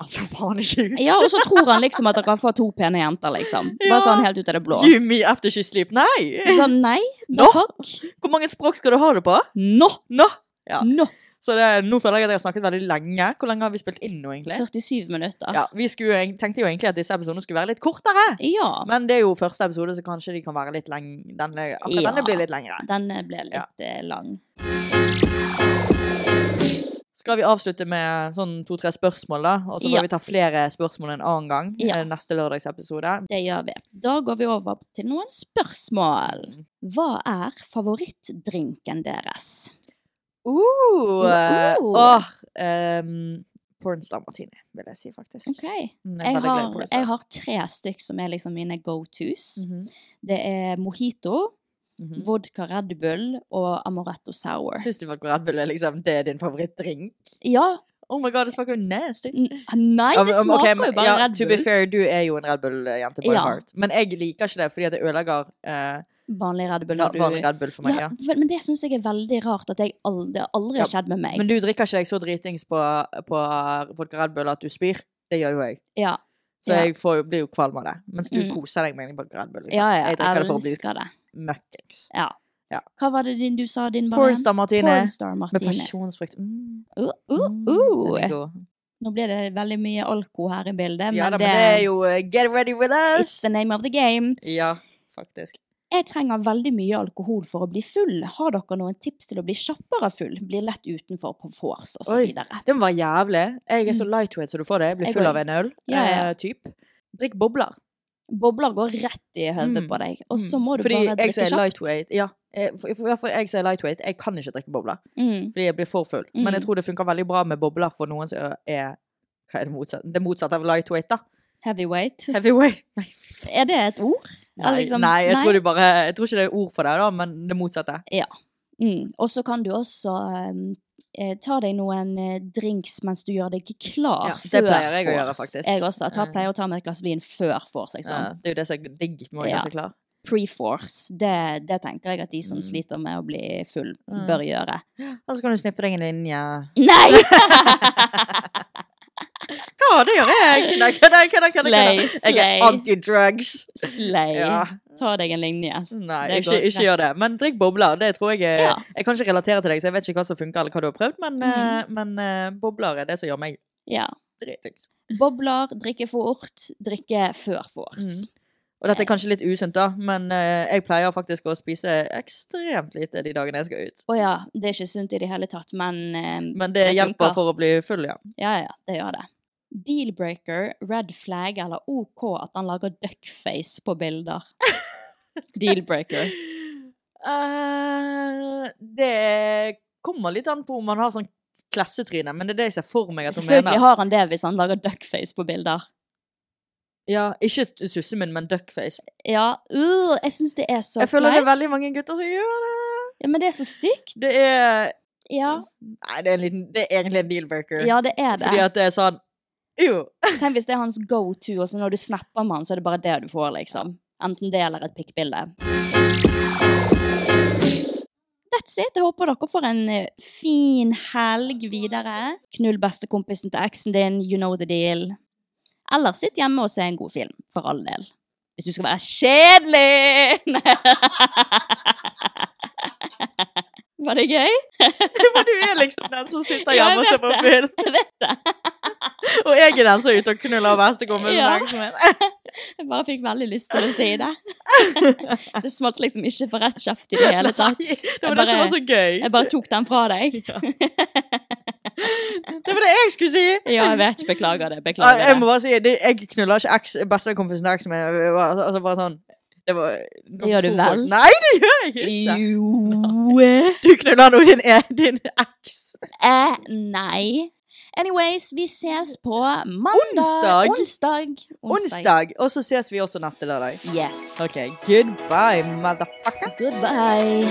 Speaker 2: Altså, faen ikke ut.
Speaker 1: Ja, og så tror han liksom at han kan få to pene jenter, liksom.
Speaker 2: Ja.
Speaker 1: Bare sånn helt ut av det blå.
Speaker 2: You me after she sleep. Nei!
Speaker 1: Sånn, nei,
Speaker 2: Nå?
Speaker 1: takk.
Speaker 2: Hvor mange språk skal du ha det på?
Speaker 1: Nå!
Speaker 2: Nå! Ja.
Speaker 1: Nå!
Speaker 2: Så det, nå føler jeg at jeg har snakket veldig lenge. Hvor lenge har vi spilt inn nå, egentlig?
Speaker 1: 47 minutter.
Speaker 2: Ja, vi skulle, jo egent- tenkte jo egentlig at disse episodene skulle være litt kortere.
Speaker 1: Ja.
Speaker 2: Men det er jo første episode, så kanskje de kan være litt lengre. Denne, akkurat
Speaker 1: Ja.
Speaker 2: denne blir litt lengre.
Speaker 1: Denne ble litt
Speaker 2: Ja.
Speaker 1: eh, lang.
Speaker 2: Skal vi avslutte med sånn to-tre spørsmål, da? Og så får
Speaker 1: Ja.
Speaker 2: vi ta flere spørsmål en annen gang.
Speaker 1: Ja.
Speaker 2: eh, Neste lørdagsepisode.
Speaker 1: Det gjør vi. Da går vi over til noen spørsmål.
Speaker 2: Mm.
Speaker 1: Hva er favorittdrinken deres?
Speaker 2: Uh, eh,
Speaker 1: Uh.
Speaker 2: åh, ehm, pornstar martini, vil jeg si, faktisk.
Speaker 1: Ok. Jeg
Speaker 2: Mm, er veldig glad i
Speaker 1: har,
Speaker 2: pornstar.
Speaker 1: jeg har tre stykk som er liksom mine go-tos.
Speaker 2: Mhm,
Speaker 1: Det er mojito,
Speaker 2: mhm.
Speaker 1: vodka Red Bull og amaretto sour.
Speaker 2: Syns du at Red Bull er liksom det er din favorittdrink?
Speaker 1: Ja,
Speaker 2: Oh my god, det smaker jo nasty.
Speaker 1: n- nei,
Speaker 2: Ja,
Speaker 1: det
Speaker 2: men- ok,
Speaker 1: smaker
Speaker 2: men-
Speaker 1: jo bare
Speaker 2: ja,
Speaker 1: Red
Speaker 2: To be
Speaker 1: Bull.
Speaker 2: fair, du er jo en Red Bull-jente by
Speaker 1: Ja.
Speaker 2: heart. Men jeg liker ikke det, fordi at det ødelegger eh,
Speaker 1: Vanlig Red Bull.
Speaker 2: ja,
Speaker 1: når du-
Speaker 2: vanlig Red Bull for meg.
Speaker 1: ja,
Speaker 2: Ja.
Speaker 1: vel, men det syns jeg er veldig rart at jeg aldri, det har aldri
Speaker 2: Ja,
Speaker 1: har skjedd med meg.
Speaker 2: Men du drikker ikke deg så dritings på, på vodka Red Bull at du spyr. Det gjør jo jeg.
Speaker 1: ja,
Speaker 2: Så
Speaker 1: Ja.
Speaker 2: jeg får, jo- blir jo kvalm av det. Mens du
Speaker 1: Mm.
Speaker 2: koser deg med en vodka Red Bull. Liksom.
Speaker 1: ja, ja,
Speaker 2: jeg drikker det for å bli
Speaker 1: elsker det.
Speaker 2: møkkings.
Speaker 1: Ja.
Speaker 2: Ja.
Speaker 1: Hva var det din du sa din var igjen?
Speaker 2: Pornstar martini
Speaker 1: Pornstar
Speaker 2: med
Speaker 1: Martine.
Speaker 2: pasjonsfrukt. Mm.
Speaker 1: Uh,
Speaker 2: Mm,
Speaker 1: uh,
Speaker 2: den er
Speaker 1: uh.
Speaker 2: god.
Speaker 1: Nå blir det veldig mye alko her i bildet,
Speaker 2: Ja da, men det er jo eh, Get ready with
Speaker 1: It's
Speaker 2: us!
Speaker 1: the name of the game.
Speaker 2: Ja, faktisk.
Speaker 1: Jeg trenger veldig mye alkohol for å bli full. Har dere noen tips til å bli kjappere full? Bli lett utenfor på vors og så
Speaker 2: Oi.
Speaker 1: videre.
Speaker 2: Den var jævlig. Jeg er så lightweight som du får det. Jeg blir
Speaker 1: Mm. Jeg
Speaker 2: full av
Speaker 1: går-
Speaker 2: en øl.
Speaker 1: Ja, ja.
Speaker 2: eh, typ. Drikk bobler.
Speaker 1: Bobler går rett i
Speaker 2: Mm.
Speaker 1: hodet på deg, og så må du
Speaker 2: Fordi
Speaker 1: bare
Speaker 2: jeg som
Speaker 1: drikke
Speaker 2: er
Speaker 1: kjapt.
Speaker 2: lightweight Ja, eh, for, for, for jeg som er lightweight, jeg kan ikke drikke bobler.
Speaker 1: Mm.
Speaker 2: Fordi jeg blir for full. Men jeg tror det funker veldig bra med bobler for noen som er hva er det motsatte? Det motsatte av lightweight, da.
Speaker 1: Heavyweight.
Speaker 2: Heavyweight. Nei,
Speaker 1: Er det et ord?
Speaker 2: nei,
Speaker 1: Eller liksom-
Speaker 2: nei, jeg,
Speaker 1: nei.
Speaker 2: Tror de bare, jeg tror ikke det er ord for det, da, men det motsatte.
Speaker 1: Mm. Og så kan du også um, eh, ta deg noen eh, drinks mens du gjør deg klar
Speaker 2: Ja,
Speaker 1: før
Speaker 2: det pleier jeg å gjøre,
Speaker 1: vors.
Speaker 2: faktisk.
Speaker 1: Jeg også. Jeg tar,
Speaker 2: Eh.
Speaker 1: pleier å ta meg et glass vin før vors. Liksom.
Speaker 2: Ja, Eh, det er jo det som er digg med å gjøre
Speaker 1: Ja.
Speaker 2: seg klar.
Speaker 1: Pre-vors. Det, det tenker jeg at de som sliter med å bli full,
Speaker 2: Mm.
Speaker 1: bør gjøre.
Speaker 2: Og så kan du sniffe deg en linje.
Speaker 1: Nei!
Speaker 2: Hva, det gjør jeg! Nei, kødda, kødda, kødda,
Speaker 1: Slay,
Speaker 2: kødda. Jeg
Speaker 1: slay.
Speaker 2: er anti-drugs.
Speaker 1: Slay.
Speaker 2: Ja.
Speaker 1: Ta deg en linje. Så
Speaker 2: Nei,
Speaker 1: det
Speaker 2: ikke,
Speaker 1: går
Speaker 2: ikke gjør det. Men drikk bobler. Det tror jeg er,
Speaker 1: Ja.
Speaker 2: Jeg kan ikke relatere til deg, så jeg vet ikke hva som funker, eller hva du har prøvd, men, eh,
Speaker 1: Mm.
Speaker 2: men eh, bobler er det som gjør meg
Speaker 1: Ja.
Speaker 2: dritings.
Speaker 1: Bobler, drikke fort, drikke før
Speaker 2: Mm.
Speaker 1: vors.
Speaker 2: Og dette er kanskje litt usunt, da, men eh, jeg pleier faktisk å spise ekstremt lite de dagene jeg skal ut.
Speaker 1: Å ja, det er ikke sunt i det hele tatt, men eh,
Speaker 2: Men det, hjelper
Speaker 1: funker.
Speaker 2: for å bli full, ja.
Speaker 1: Ja, ja, det gjør det. Dealbreaker, red flag eller OK at han lager duckface på bilder? Dealbreaker.
Speaker 2: Eh, det kommer litt an på om man har sånn klassetryne, men det er det jeg ser for meg at hun
Speaker 1: Selvfølgelig
Speaker 2: mener.
Speaker 1: har han det hvis han lager duckface på bilder.
Speaker 2: Ja, ikke sussen min, men duckface.
Speaker 1: Ja, øh, jeg syns det er så
Speaker 2: Jeg føler det er
Speaker 1: flaut.
Speaker 2: veldig mange gutter som gjør det.
Speaker 1: Ja, men det er så stygt.
Speaker 2: Det er
Speaker 1: Ja,
Speaker 2: Nei, det er, en liten, det er egentlig en deal-breaker.
Speaker 1: ja, det er
Speaker 2: Fordi
Speaker 1: det.
Speaker 2: at det er sånn Jo.
Speaker 1: Tenk hvis det er hans go to, og så når du snapper med han, så er det bare det du får, liksom. Enten det eller et pikkbilde. That's it. Jeg håper dere får en eh, fin helg videre. Knull bestekompisen til eksen din, you know the deal. Eller sitt hjemme og se en god film, for all del. Hvis du skal være kjedelig! Var det gøy?
Speaker 2: For du er liksom den som sitter
Speaker 1: Ja,
Speaker 2: hjemme
Speaker 1: jeg
Speaker 2: og ser
Speaker 1: vet
Speaker 2: på
Speaker 1: det.
Speaker 2: film.
Speaker 1: Jeg vet det.
Speaker 2: Og jeg er den som er ute og knuller bestekompisen.
Speaker 1: Ja.
Speaker 2: Ja.
Speaker 1: Jeg bare fikk veldig lyst til å si det. Det smalt liksom ikke for rett kjeft i det hele tatt.
Speaker 2: Nei,
Speaker 1: Jeg
Speaker 2: Det var det som var så
Speaker 1: bare,
Speaker 2: gøy.
Speaker 1: jeg bare tok den fra deg.
Speaker 2: Det var det jeg skulle si!
Speaker 1: Ja, jeg vet. Beklager det.
Speaker 2: Ah,
Speaker 1: Beklager
Speaker 2: Jeg må
Speaker 1: det.
Speaker 2: bare si, det, jeg knuller ikke eks, bestekompisen til eksen min. Det var- Altså bare sånn Det var Det
Speaker 1: gjør du vel?
Speaker 2: Nei, det gjør jeg ikke!
Speaker 1: Jo
Speaker 2: Du knuller nå din, e- din eks.
Speaker 1: eh, Nei. Anyways, vi ses på mandag.
Speaker 2: Onsdag.
Speaker 1: Onsdag.
Speaker 2: Onsdag. Og så ses vi også neste lørdag.
Speaker 1: Yes.
Speaker 2: OK. Goodbye, motherfucker.
Speaker 1: Goodbye.